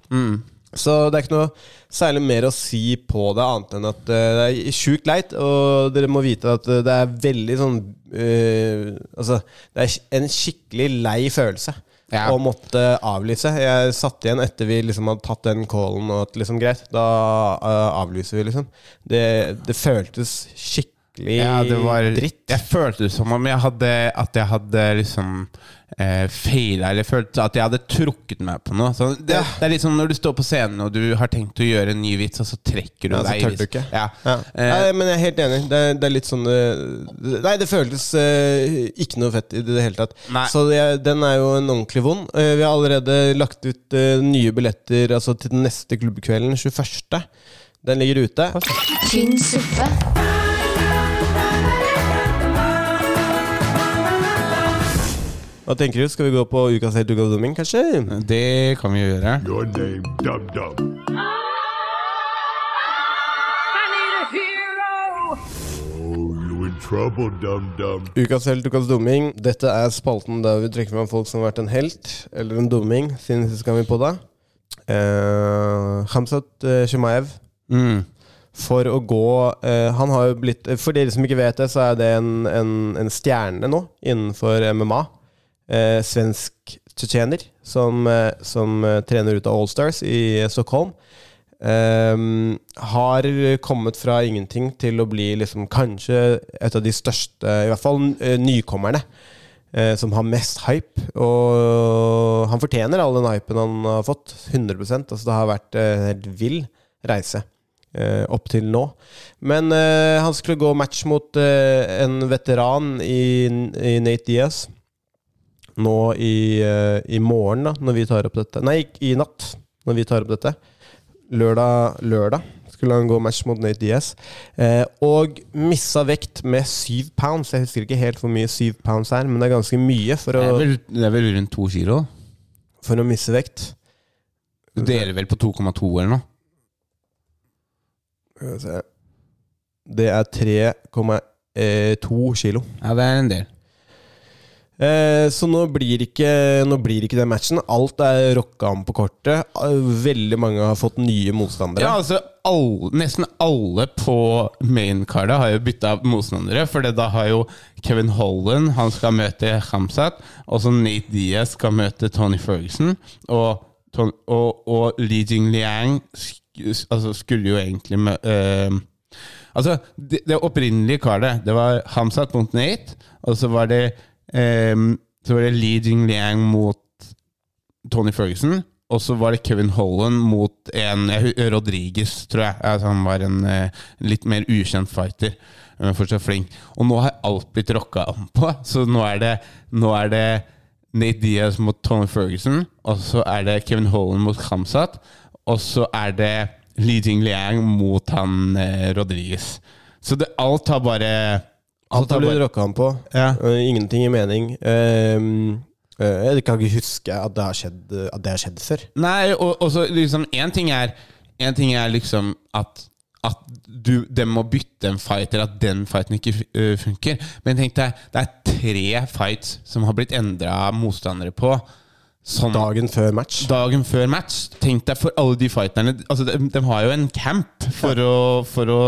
B: Så det er ikke noe særlig mer å si på det, annet enn at eh, det er sjukt leit. Og dere må vite at eh, det er veldig sånn eh, Altså, det er en skikkelig lei følelse.
C: Ja.
B: Å måtte avlyse. Jeg satt igjen etter vi liksom hadde tatt den callen og at liksom greit, da eh, avlyser vi, liksom. Det, det føltes skikkelig
C: ja, det var
B: dritt.
C: Jeg følte det som om jeg hadde, at jeg hadde liksom eh, feila, eller følte at jeg hadde trukket meg på noe. Så det, det er litt sånn når du står på scenen og du har tenkt å gjøre en ny vits, og så trekker du
B: Ja, så
C: deg. i
B: tør du
C: vitsen.
B: ikke.
C: Ja.
B: Ja.
C: Eh,
B: Nei, men jeg er helt enig. Det er, det er litt sånn eh, Nei, det føltes eh, ikke noe fett i det hele tatt.
C: Nei.
B: Så det, er- den er jo en ordentlig vond. Eh, vi har allerede lagt ut eh, nye billetter altså, til den neste klubbkvelden, 21. Den ligger ute.
A: tynn suppe,
B: Hva tenker du? Skal vi gå på Ukas helt, ukas dumming, kanskje?
C: det kan vi jo gjøre.
D: Your name, Dum Dum. Oh, you in trouble, Dum Dum.
B: Ukas helt, ukas dumming. Dette er spalten der vi trekker fram folk som har vært en helt eller en dumming siden sist gang vi på da. Uh, Hamzat eh, Shumayev
C: Mm.
B: for å gå eh, Han har jo blitt For dere som ikke vet det, så er det en, en, en stjerne nå innenfor MMA. Eh, svensk tsjetsjener som, eh, som eh, trener ut av Allstars i eh, Stockholm. Ehm, har kommet fra ingenting til å bli liksom kanskje et av de største, i hvert fall eh, nykommerne, eh, som har mest hype. Og han fortjener all den hypen han har fått. 100 altså Det har vært eh, en helt vill reise eh, opp til nå. Men eh, han skulle gå match mot eh, en veteran i, i Nate Diaz nå i, eh, i morgen, da, når vi tar opp dette Nei, ikke i natt, når vi tar opp dette. Lørdag, lørdag skulle han gå match mot Nate Diaz. Eh, og missa vekt med syv pounds. Jeg husker ikke helt hvor mye syv pounds er, men det er ganske mye for
C: Det,
B: å,
C: er vel, det er vel rundt to kilo?
B: for å misse vekt.
C: Du deler vel på 2,2 eller noe?
B: Skal vi se. Det er 3,2 kilo.
C: Ja, det er en del.
B: Eh, Så nå blir, ikke, nå blir ikke den matchen. Alt er rocka om på kortet. Eh, Veldig mange har fått nye
C: Ja,
B: motstandere.
C: altså alle, Nesten alle på maincardet har jo bytta motstandere. For det da har jo Kevin Holland Han skal møte Hamzat. Og så Nate Diaz skal møte Tony Ferguson. Og, Ton- og, og Li Jing Liang sk- altså, skulle jo egentlig mø... eh, Altså, det, det opprinnelige kardet, det var Hamzat mot Nate, og så var det, um, så var det Li Jingliang mot Tony Ferguson, og så var det Kevin Holland mot en jeg hu- Rodriguez, tror jeg. Altså, han var en eh, litt mer ukjent fighter, men fortsatt flink. Og nå har alt blitt rocka om på, så nå er det, nå er det Nate Diaz mot Tony Ferguson, og så er det Kevin Holland mot Khamzat, og så er det Li Jingliang mot han eh, Rodriguez. Så det, alt har bare
B: Alt har blitt rocka om på.
C: Ja.
B: Eh, Ingenting i mening. Eh, Eh, Jeg kan ikke huske at det har skjedd, at det har skjedd før.
C: Nei, og, og så liksom En ting er En ting er liksom at at du, de må bytte en fight, eller at den fighten ikke øh, funker. Men tenk deg, det er tre fights som har blitt endra motstandere på. Sånn
B: Dagen før match.
C: dagen før match. Tenk deg for alle de fighterne. Altså, de, de har jo en camp for å, for å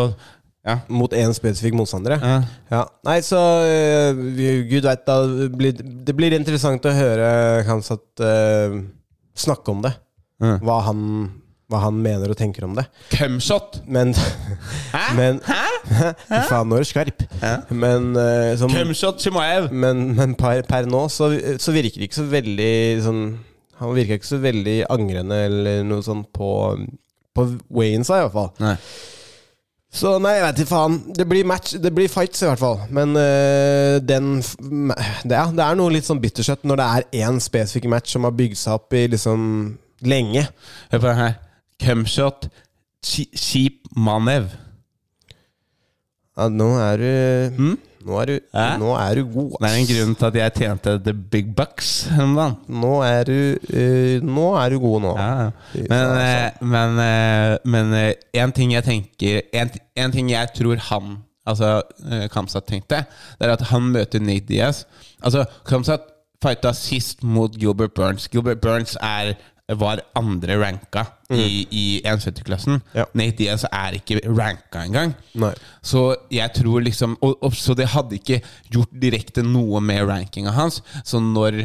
C: ja.
B: Mot én spesifikk motstander. Ja.
C: Ja.
B: Nei, så eh, vi- Gud veit, da. Blir, det blir interessant å høre Kansat eh, snakke om det.
C: Ja.
B: Hva, han, hva han mener og tenker om det.
C: Cumshot!
B: Men (laughs)
C: Hæ?
B: Men-
C: Hæ?
B: (laughs) Fy faen, nå er du skarp. Men, eh, som,
C: Cumshot Chimaev!
B: men, men per, per nå så, så virker det ikke så veldig sånn Han virker ikke så veldig angrende eller noe sånt på, på Wayne, sa jeg i hvert fall.
C: Nei.
B: Så nei, jeg vet ikke faen. Det blir match, det blir fights i hvert fall. Men øh, den f- m- det, er- det er noe litt sånn bittersøtt når det er én spesifikk match som har bygd seg opp i liksom lenge.
C: Hør på den her. Cumshot Chi- Chimaev.
B: Ja, nå er du Nå er du,
C: Hm? Hæ?
B: nå er du god,
C: Det er en grunn til at jeg tjente the big bucks om dagen.
B: Nå er du, øh, nå er du god nå.
C: Ja, ja. Men, eh, men, eh, men eh, en ting jeg tenker En, en ting jeg tror han Altså eh, Kamsat tenkte, det er at han møter Nate Diaz. Altså Kamsat fighta sist mot Gilbert Burns. Gilbert Burns er, var andre ranka i, i 170-klassen.
B: Ja.
C: Nate Diaz er ikke ranka engang.
B: Nei.
C: Så jeg tror liksom og, og, Så det hadde ikke gjort direkte noe med rankinga hans. Så når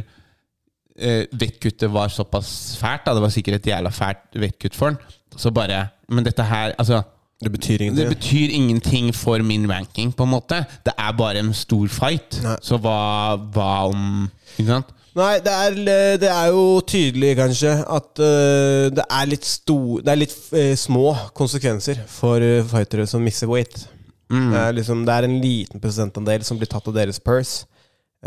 C: eh, vektkuttet var såpass fælt, da, det var sikkert et jævla fælt vektkutt for han, så bare Men dette her, altså
B: Det betyr
C: det
B: ingenting.
C: betyr ingenting for min ranking, på en måte. Det er bare en stor fight.
B: Nei.
C: Så hva, hva om Ikke sant?
B: Nei, det er, eh, det er jo tydelig, kanskje, at øh, det er litt, sto, det er litt eh, små konsekvenser for eh, fightere som misser weight. Det, er liksom, det er en liten prosentandel som blir tatt av deres purse.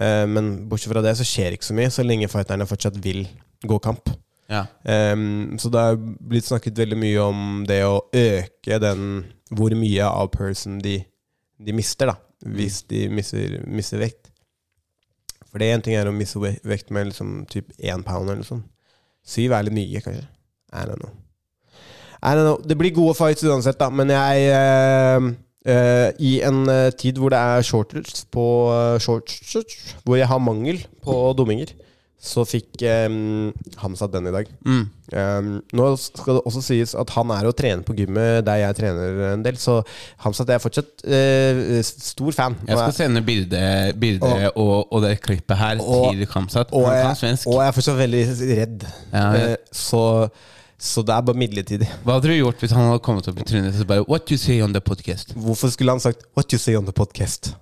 B: Eh, men bortsett fra det så skjer ikke så mye, så lenge fighterne fortsatt vil gå kamp.
C: Ja.
B: Ehm, så det er blitt snakket veldig mye om det å øke den Hvor mye av person de, de mister, da. Hvis de mister, mister vekt. For det én ting er å miste ve- vekt med liksom typ én pound eller noe sånt. Syv er litt mye, kanskje. I don't know. I don't know. Det blir gode fights uansett, da, men jeg ehm, eh, I en eh, tid hvor det er shorters på eh, shorts, hvor jeg har mangel på dumminger, så fikk ehm, Hamza den i dag.
C: Mm.
B: Ehm, nå skal det også sies at han er og trener på gymmet der jeg trener en del, så Hamza jeg er fortsatt eh, stor fan.
C: Jeg
B: Og
C: skal sende bildet bilde og, og det klippet her
B: Og-
C: til Kamsat.
B: og
C: Han
B: jeg,
C: kan svensk.
B: og jeg er fortsatt veldig redd.
C: Ja, ja.
B: Eh, så, så det er bare midlertidig.
C: Hva hadde du gjort hvis han hadde kommet opp i trynet og så bare What you say on the podcast?
B: Hvorfor skulle han sagt 'What you say on the podcast'?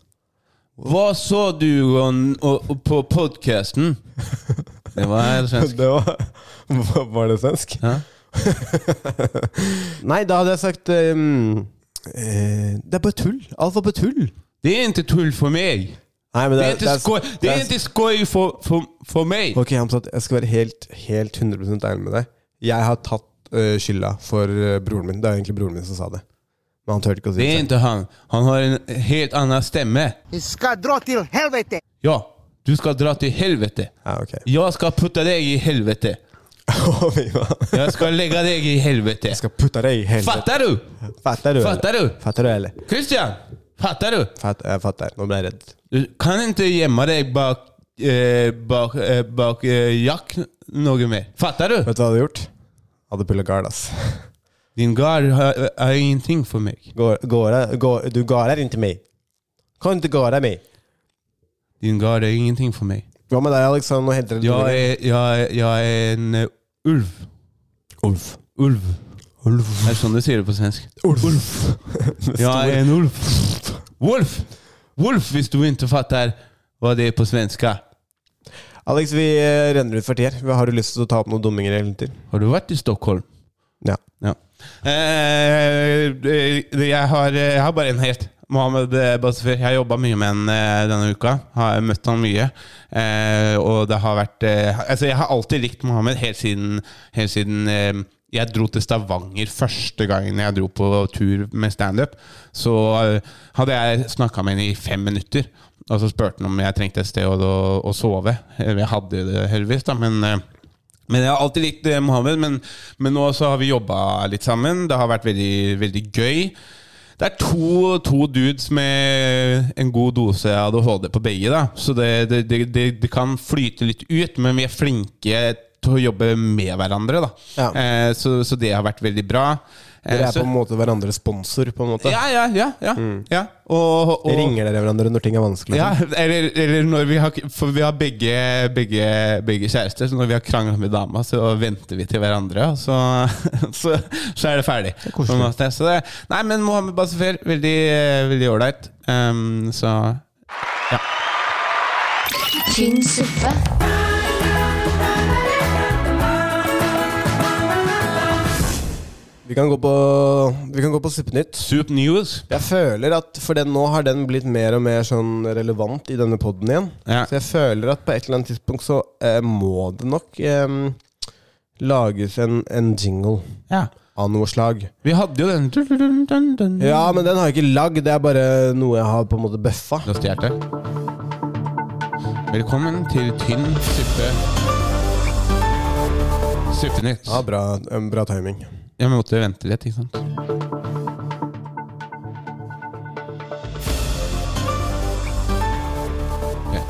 C: Hva så du on, o, o, på podcasten? Det var svensk.
B: (laughs) Det var, var det svensk?
C: Ja.
B: (laughs) Nei, da hadde jeg sagt ehm, eh, Det er bare tull. Alt var bare tull.
C: Det er ikke tull for meg.
B: Nei, men
C: Det er ikke skoj, det er ikke skoj for, for, for meg.
B: Ok, Hamzat, jeg skal være helt, helt 100 ærlig med deg. Jeg har tatt eh, skylda for eh, broren min. Det er egentlig broren min som sa det. Men han turte ikke å si
C: Det
B: det.
C: er
B: selv.
C: ikke han. Han har en helt annen stemme.
H: Vi ska dra till helvete!
C: Ja, du skal dra til helvete.
B: Ja, Ah, ok.
C: Jeg skal putte deg i helvete.
B: (laughs) Å, fy faen.
C: Jeg skal legge deg i helvete.
B: Jeg skal putte deg i helvete.
C: Fatter du?
B: Fatter du? eller?
C: Fatter du?
B: Fatter du, eller?
C: Christian, fatter du?
B: Fatt, jeg fatter. Nå ble jeg redd.
C: Du kan ikke gjemme deg bak, eh, bak, eh, bak eh, Jack noe mer. Fatter du?
B: Vet du hva jeg hadde gjort? Jeg Hadde pulla gard, ass.
C: Din gard har, er ingenting for meg.
B: Går, går, går, du garer ikke meg. Kan ikke gare meg.
C: Din gard er ingenting for meg.
B: Hva med deg, Alexander? Nå henter du
C: Jeg er, jeg, er- jeg er en eh, ulv.
B: Ulf.
C: Ulv.
B: Ulf.
C: Er det sånn du sier det på svensk?
B: Ulf.
C: Jeg er en ulv. Wolf! Wolf, hvis du ikke fatter hva det er på svenska.
B: Alex, vi eh, renner ut for tid her. Har du lyst til å ta opp noen dumminger eller noe til?
C: Har du vært i Stockholm?
B: Ja.
C: Ja. Eh, det- jeg, har, eh, jeg har bare en helt. Mohammed Basfer. Jeg har jobba mye med han eh, denne uka. Har møtt han mye. Eh, og det har vært eh, Altså, jeg har alltid likt Mohammed helt siden, helt siden eh, jeg dro til Stavanger første gangen jeg dro på tur med standup, så eh, hadde jeg snakka med henne i fem minutter. Og så spurte han om jeg trengte et sted å, å, å sove. Eh, Jeg hadde jo det heldigvis, da, men eh, men Jeg har alltid likt eh, Mohammed, men, men nå så har vi jobba litt sammen. Det har vært veldig, veldig gøy. Det er to, to dudes med en god dose ADHD på begge, da. så det, det, det, det, det kan flyte litt ut, men vi er flinke til å jobbe med hverandre. Da.
B: Ja.
C: Eh, så, så det har vært veldig bra. Eh,
B: Dere er
C: så-
B: på en måte hverandres sponsor, på en måte. Mm.
C: ja, ja, ja, ja, ja. Og, og, og,
B: Ringer dere hverandre når ting er vanskelig?
C: ja, eller, eller når vi har For vi har begge, begge, begge kjærester, så når vi har krangla med dama, så venter vi til hverandre, og så, (laughs) så, så er det ferdig. på en måte. så det, nei, men Mohammed Basafer, veldig eh, veldig ålreit. Ehm, så
A: tynn suppe,
B: Vi kan gå på, vi kan gå på Suppenytt.
C: Soup News.
B: Jeg føler at, for den, Nå har den blitt mer og mer sånn relevant i denne poden igjen.
C: Ja.
B: Så jeg føler at på et eller annet tidspunkt så eh, må det nok eh, lages en, en jingle
C: Ja.
B: av noe slag.
C: Vi hadde jo den Mm.
B: Ja, men den har jeg ikke lagd. Det er bare noe jeg har på en måte bøffa.
C: Du har stjålet det. Velkommen til Tynn suppe. Suppenytt.
B: Ja, bra, eh, bra timing.
C: Jeg måtte vente litt, ikke sant? Ok.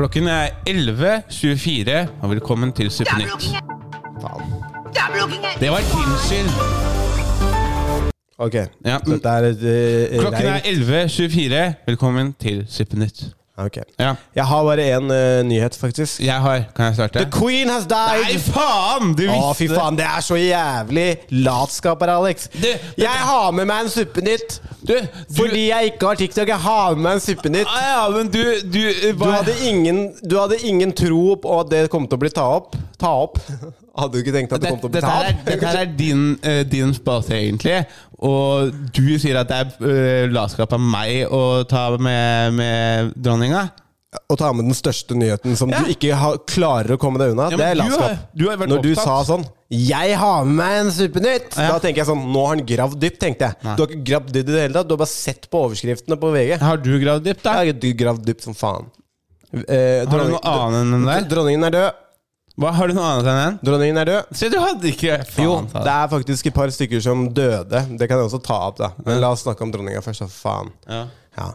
C: Klokken er 11.24, og velkommen til Suppenytt. Det var din skyld!
B: Ok,
C: Ja,
B: så dette er et eh,
C: Klokken
B: rein-
C: er 11.24, velkommen til Suppenytt.
B: Ok.
C: Ja,
B: Jeg har bare én eh, nyhet, faktisk.
C: jeg har Kan jeg starte?
B: The queen has died!
C: Nei, faen! Du
B: Å,
C: visste
B: fy faen, det er så jævlig latskap her, Alex.
C: Du-
B: jeg har med meg en Suppenytt
C: Du, du,
B: fordi jeg ikke har TikTok. Jeg har med meg en Suppenytt.
C: Ah, Ja, men du, du,
B: Du hadde, ingen, du hadde ingen tro på at det kom til å bli ta opp. Ta opp? (laughs) Hadde du ikke tenkt at det kom til å bli
C: Dette
B: ta
C: her er,
B: opp?
C: dette her er din, eh, din spalte, egentlig. Og du sier at det er eh, latskap av meg å ta med, med dronninga.
B: Å ta med den største nyheten som
C: Ja.
B: du ikke har, klarer å komme deg unna, det
C: Ja, men
B: er
C: du har-
B: latskap.
C: du har vært
B: Når du
C: opptatt.
B: sa sånn 'Jeg har med meg en Suppenytt',
C: Ja.
B: da tenker jeg sånn Nå har han gravd dypt, tenkte jeg.
C: Nei.
B: Du har ikke gravd dypt i det hele tatt. Du har bare sett på overskriftene på VG.
C: Har du gravd dypt, da?
B: Jeg har ikke gravd dypt som faen. Eh,
C: Har du noe annet enn den der?
B: Dronningen er død.
C: Hva, har du noe annet enn den?
B: Dronningen er død.
C: Se, du hadde ikke faen,
B: Jo,
C: ta
B: det er faktisk et par stykker som døde. Det kan jeg også ta opp, da. Men la oss snakke om dronninga først, da. Faen.
C: Ja.
B: Ja.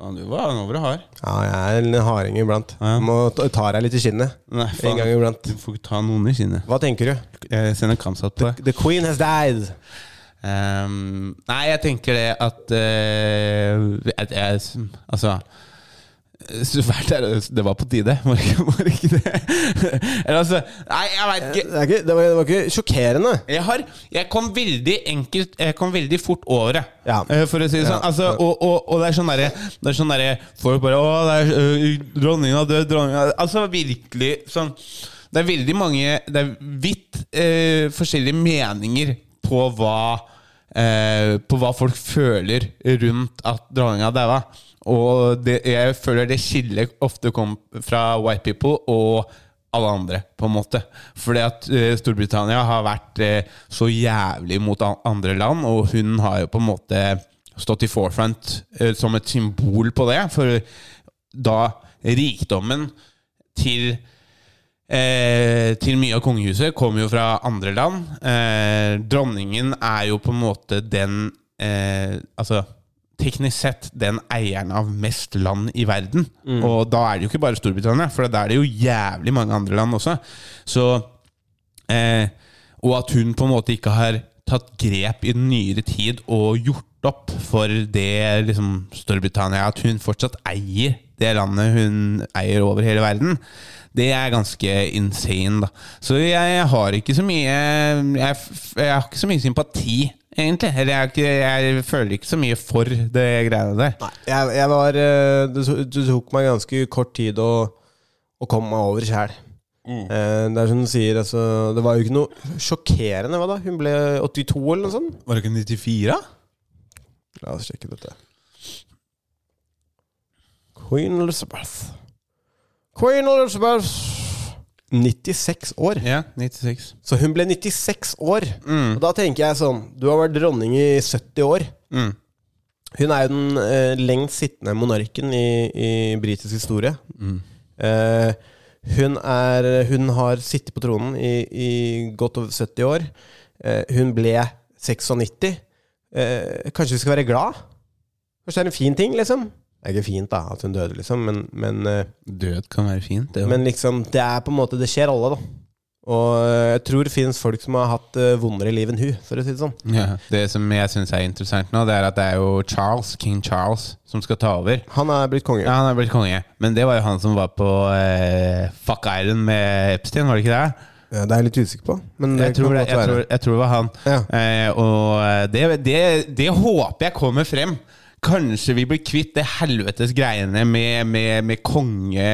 C: Faen, du var over og hard.
B: ja, jeg er en harding iblant.
C: Ja.
B: Må ta ta deg litt i skinnet.
C: Nei, faen.
B: En gang iblant.
C: Du får ikke ta noen i kinnet.
B: Hva tenker du?
C: Jeg sender Kamsat på deg.
B: The queen has died.
C: Ehm, nei, jeg tenker det at eh, at jeg, Altså Svært er det Det var på tide, var ikke, var ikke det? (laughs) Eller altså Nei, jeg veit
B: Det,
C: ikke.
B: er ikke, det, var, det var ikke sjokkerende.
C: Jeg, har, jeg kom veldig enkelt Jeg kom veldig fort over det,
B: Ja.
C: eh, for å si det sånn.
B: Ja.
C: Altså, og, og, og det er sånn derre Det er sånn derre Folk bare Å, det er øh, dronninga død, dronninga Altså virkelig sånn Det er veldig mange Det er vidt eh, forskjellige meninger på hva eh, På hva folk føler rundt at dronninga daua. Og det, jeg føler det skillet ofte kom fra white people og alle andre, på en måte. Fordi at eh, Storbritannia har vært eh, så jævlig mot an- andre land, og hun har jo på en måte stått i forefront eh, som et symbol på det. For da rikdommen til Eh, til mye av kongehuset kommer jo fra andre land. Eh, dronningen er jo på en måte den eh, Altså teknisk sett den eieren av mest land i verden. Og da er det jo ikke bare Storbritannia, for da er det jo jævlig mange andre land også. Så Eh, og at hun på en måte ikke har tatt grep i den nyere tid og gjort opp for det liksom, Storbritannia. At hun fortsatt eier det landet hun eier over hele verden. Det er ganske insane, da. Så jeg har ikke så mye Jeg, f- jeg har ikke så mye sympati, egentlig. Eller jeg, har ikke, jeg føler ikke så mye for det greiene der.
B: Nei, jeg, jeg var eh, det, to- det tok meg ganske kort tid å, å komme meg over sjæl.
C: Mm.
B: Eh, Det er som du sier, altså Det var jo ikke noe sjokkerende, hva da? Hun ble 82 eller noe sånt?
C: Var det ikke 94, da?
B: La oss sjekke dette. Queen Elizabeth. Queen Elizabeth 96 år.
C: Ja, 96.
B: Så hun ble 96 år. Og da tenker jeg sånn Du har vært dronning i 70 år.
C: Mm.
B: Hun er jo den eh, lengst sittende monarken i, i britisk historie.
C: Mm.
B: Eh, hun, er, hun har sittet på tronen i, i godt over 70 år. Eh, hun ble 96. Eh, kanskje vi skal være glad? Kanskje det er en fin ting, liksom? Det er ikke fint da, at hun døde, liksom, men, men eh,
C: Død kan være fint. Det,
B: men liksom, det er på en måte Det skjer alle, da. Og eh, jeg tror det finnes folk som har hatt eh, vondere liv enn hun, for å si det sånn.
C: ja. det som jeg syns er interessant nå, det er at det er jo Charles, king Charles som skal ta over.
B: Han er blitt konge.
C: Ja, Han er blitt konge, men det var jo han som var på eh, Fuck Island med Epstein, var det ikke det?
B: Ja, Det er jeg litt usikker på. Men det
C: Jeg tror
B: kan
C: det,
B: godt
C: jeg
B: være.
C: tror, jeg tror det var han.
B: Ja.
C: Eh, og eh, det, det, det håper jeg kommer frem. Kanskje vi blir kvitt det helvetes greiene med, med, med konge,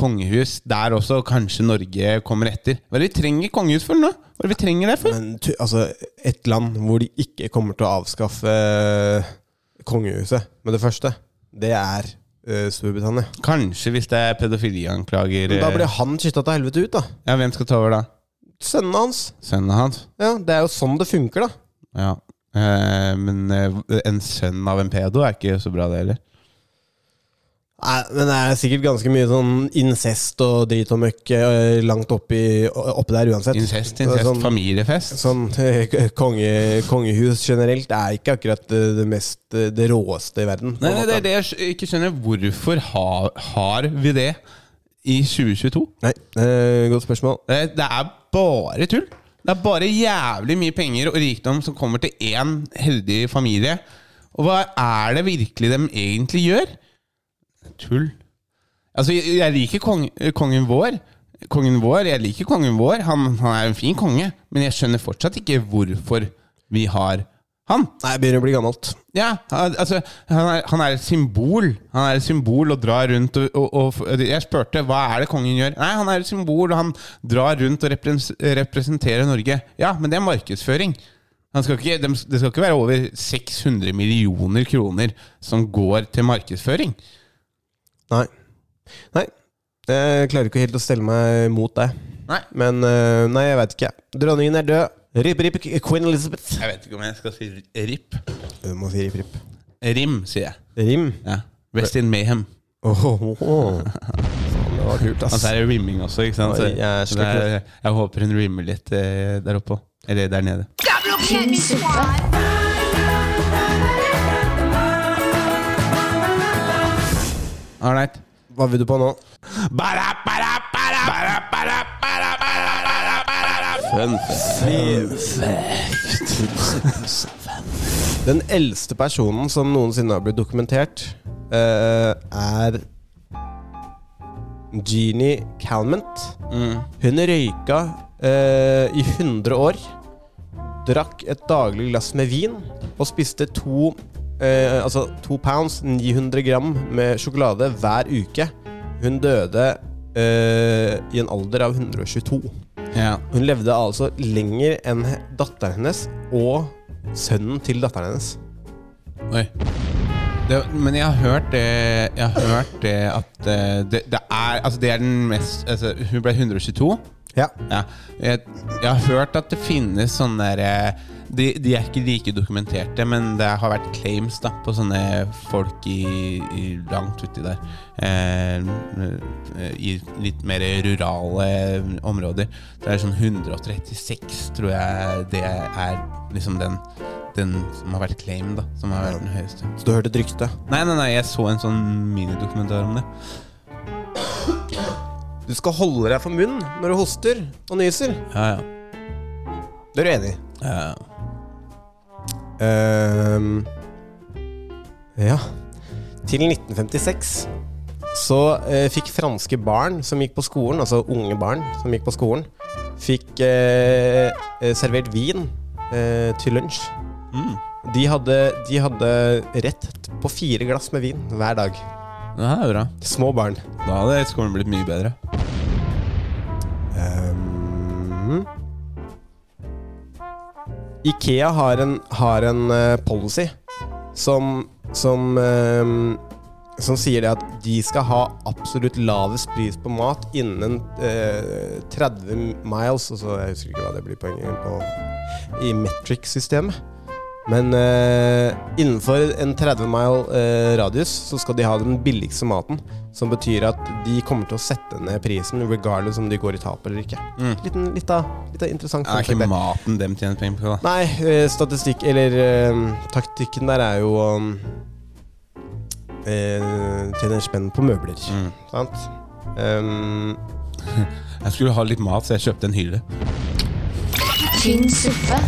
C: kongehus der også. Kanskje Norge kommer etter. Hva er det vi trenger kongehus for nå? Hva er det vi trenger det for?
B: Men tu- altså, et land hvor de ikke kommer til å avskaffe eh, kongehuset med det første, det er eh, Storbritannia.
C: Kanskje hvis det er pedofilianklager
B: Men da
C: eh,
B: blir han skytta til helvete ut, da.
C: Ja, hvem skal ta over da?
B: Sønnen hans.
C: Sønnen hans?
B: Ja, Det er jo sånn det funker, da.
C: Ja. Eh, men eh, en sønn av en pedo er ikke så bra, det heller.
B: Nei, men det er sikkert ganske mye sånn incest og drit og møkk eh, langt oppi, oppi der uansett.
C: Incest,
B: Det er
C: incest,
B: sånn-
C: familiefest.
B: Sånn eh, konge, kongehus generelt er ikke akkurat eh, det mest eh, det råeste i verden. på
C: Nei,
B: en
C: nei,
B: måte.
C: det er det jeg skj- ikke skjønner. Hvorfor har, har vi det i 2022?
B: Nei, eh, godt spørsmål.
C: Det, det er bare tull. Det er bare jævlig mye penger og rikdom som kommer til én heldig familie. Og hva er det virkelig de egentlig gjør? Tull. Altså, jeg, jeg liker kong, kongen vår. Kongen vår, Jeg liker kongen vår. Han, han er en fin konge. Men jeg skjønner fortsatt ikke hvorfor vi har han.
B: Nei, jeg begynner å bli gammelt.
C: Ja, han- altså han er, han er et symbol. Han er et symbol og drar rundt og, og, og Jeg spurte hva er det kongen gjør. Nei, han er et symbol, og han drar rundt og reprens- representerer Norge. Ja, men det er markedsføring. Han skal ikke, dem- det skal ikke være over 600 millioner kroner som går til markedsføring.
B: Nei. Nei. Jeg klarer ikke helt å stelle meg mot deg.
C: Nei.
B: Men eh, nei, jeg veit ikke. Dronningen er død. Rip, rip, queen Elizabeth.
C: Jeg vet ikke om jeg skal si RIP.
B: Du må si rip, rip.
C: Rim, sier jeg.
B: Rim.
C: Ja. Rest in Mayhem.
B: Åh, åh, åh. Det var kult, ass.
C: Og så Altså, er det rimming også, ikke sant? Så,
B: Oi, jeg er
C: det er, jeg håper hun rimmer litt eh, der oppe også. Eller der nede.
A: Kjendisuppe.
C: Ålreit.
B: Hva vil du på nå?
C: Fun
B: Den eldste personen som noensinne har blitt dokumentert, eh, er Jeannie Calment.
C: Mm.
B: Hun røyka eh, i 100 år, drakk et daglig glass med vin og spiste to eh, Altså to pounds, 900 gram med sjokolade hver uke. Hun døde eh, i en alder av 122.
C: Ja.
B: Hun levde altså lenger enn he- datteren hennes og sønnen til datteren hennes.
C: Oi. Det, men jeg har hørt det Jeg har hørt det at eh, det, det er Altså, det er den mest altså, Hun ble 122.
B: Ja.
C: Ja. Jeg, jeg har hørt at det finnes sånne der, eh, de, de er ikke like dokumenterte, men det har vært claims da på sånne folk i, i langt uti der. Eh, I litt mer rurale områder. Det er sånn 136, tror jeg det er liksom den, den som har vært claim, da. Som har vært den høyeste.
B: Så du hørte et rykte?
C: Nei, nei, nei, jeg så en sånn minidokumentar om det.
B: Du skal holde deg for munnen når du hoster og nyser.
C: Ja, ja.
B: Det er du enig i?
C: ja.
B: Ehm, ja. Til 1956 så eh, fikk franske barn som gikk på skolen, altså unge barn som gikk på skolen, fikk eh, eh, servert vin eh, til lunsj.
C: Mm.
B: De, hadde, de hadde rett på fire glass med vin hver dag.
C: Det her er bra.
B: Små barn.
C: Da hadde skolen blitt mye bedre.
B: Ehm. Ikea har en, har en eh, policy som, som ehm, som sier det at de skal ha absolutt lavest pris på mat innen eh, 30 miles altså, Jeg husker ikke hva det blir poenget på i metric-systemet. Men eh, innenfor en 30 mile eh, radius så skal de ha den billigste maten. Som betyr at de kommer til å sette ned prisen regardless om de går i tap eller ikke. Liten, litt av, litt av interessant.
C: Mm. Er
B: fun fact
C: ikke
B: der.
C: maten dem tjener penger på? da
B: Nei, eh, statistikk Eller eh, taktikken der er jo um, eh, Tjener spenn på møbler. Sant? Um,
C: Jeg skulle ha litt mat, så jeg kjøpte en hylle.
A: tynn suppe,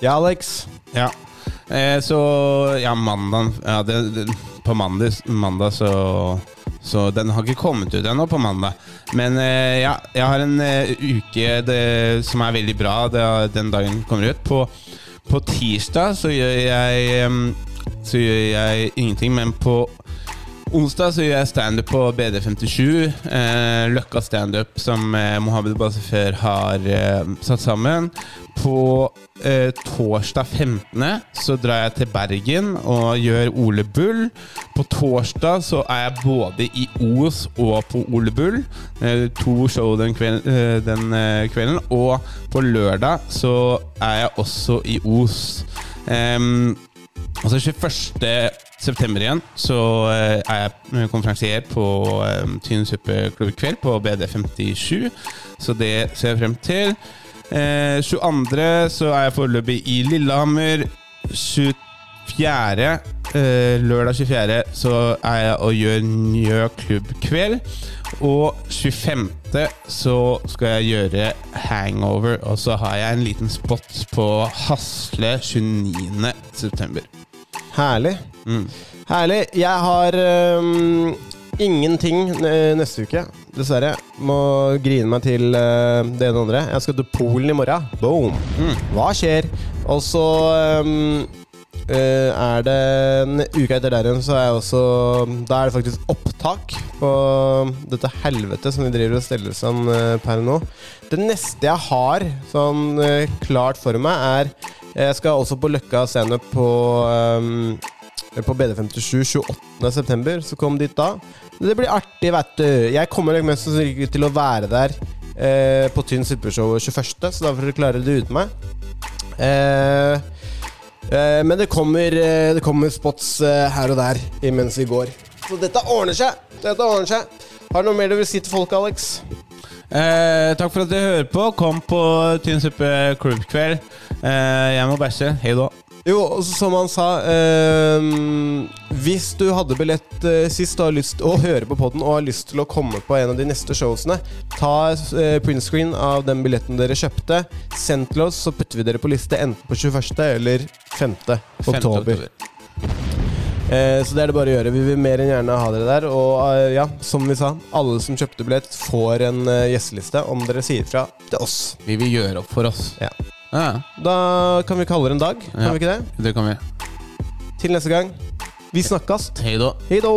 B: ja, Alex.
C: Ja. Eh, så Ja, mandag ja, det, det, På mandag, mandag så Så den har ikke kommet ut ennå på mandag. Men eh, ja, jeg har en eh, uke det, som er veldig bra det, er den dagen den kommer ut. På, på tirsdag så gjør jeg em, Så gjør jeg ingenting, men på Onsdag så gjør jeg standup på BD57. Eh, Løkka standup som eh, Mohammed Basefer har eh, satt sammen. På eh, torsdag 15. så drar jeg til Bergen og gjør Ole Bull. På torsdag så er jeg både i Os og på Ole Bull. Eh, to show den, kvelden, eh, den eh, kvelden. Og på lørdag så er jeg også i Os. Em, og så 21. Altså, september igjen så eh, er jeg konferansier på um, Tynn suppe klubbkveld på BD57, så det ser jeg frem til. Eh, 22. så er jeg foreløpig i Lillehammer. 24. eh, lørdag 24. så er jeg og gjør Njø klubbkveld. Og 25. så skal jeg gjøre Hangover, og så har jeg en liten spot på Hasle 29. september.
B: Herlig. Herlig. Jeg har ehm, ingenting eh, neste uke, dessverre. Må grine meg til eh, det ene og andre. Jeg skal til Polen i morgen. Boom! Hva skjer? Og så ehm, eh, er det en uke etter der igjen, så er jeg også Da er det faktisk opptak på dette helvete som vi driver og steller sånn eh, per nå. Det neste jeg har sånn eh, klart for meg, er Jeg skal også på Løkka standup på ehm, på BD57 28.9. Så kom dit da. Det blir artig, vet du. Jeg kommer nok mest sannsynlig til å være der eh, på Tynn suppeshow 21., så da får dere klare det uten meg. Eh, eh, men det kommer, eh, det kommer spots eh, her og der imens vi går. Så dette ordner seg! Dette ordner seg. Har du noe mer du vil si til folk, Alex?
C: Eh, takk for at dere hører på. Kom på Tynn suppe klubbkveld. Eh, jeg må bæsje. Hei da.
B: Jo, og så som han sa ehm, Hvis du hadde billett eh, sist og har lyst å høre på podden og har lyst til å komme på en av de neste showsene, ta eh, printscreen av den billetten dere kjøpte, send til oss, så putter vi dere på liste enten på 21. eller 5. oktober. Eh, så det er det bare å gjøre. Vi vil mer enn gjerne ha dere der. Og eh, ja, som vi sa, alle som kjøpte billett, får en eh, gjesteliste om dere sier fra til oss.
C: Vi vil gjøre opp for oss.
B: Ja.
C: Ja,
B: Da kan vi kalle det en dag, kan
C: Ja.
B: vi ikke det?
C: det kan vi.
B: Til neste gang. Vi snakkes.
C: Hei da.
B: Hei då!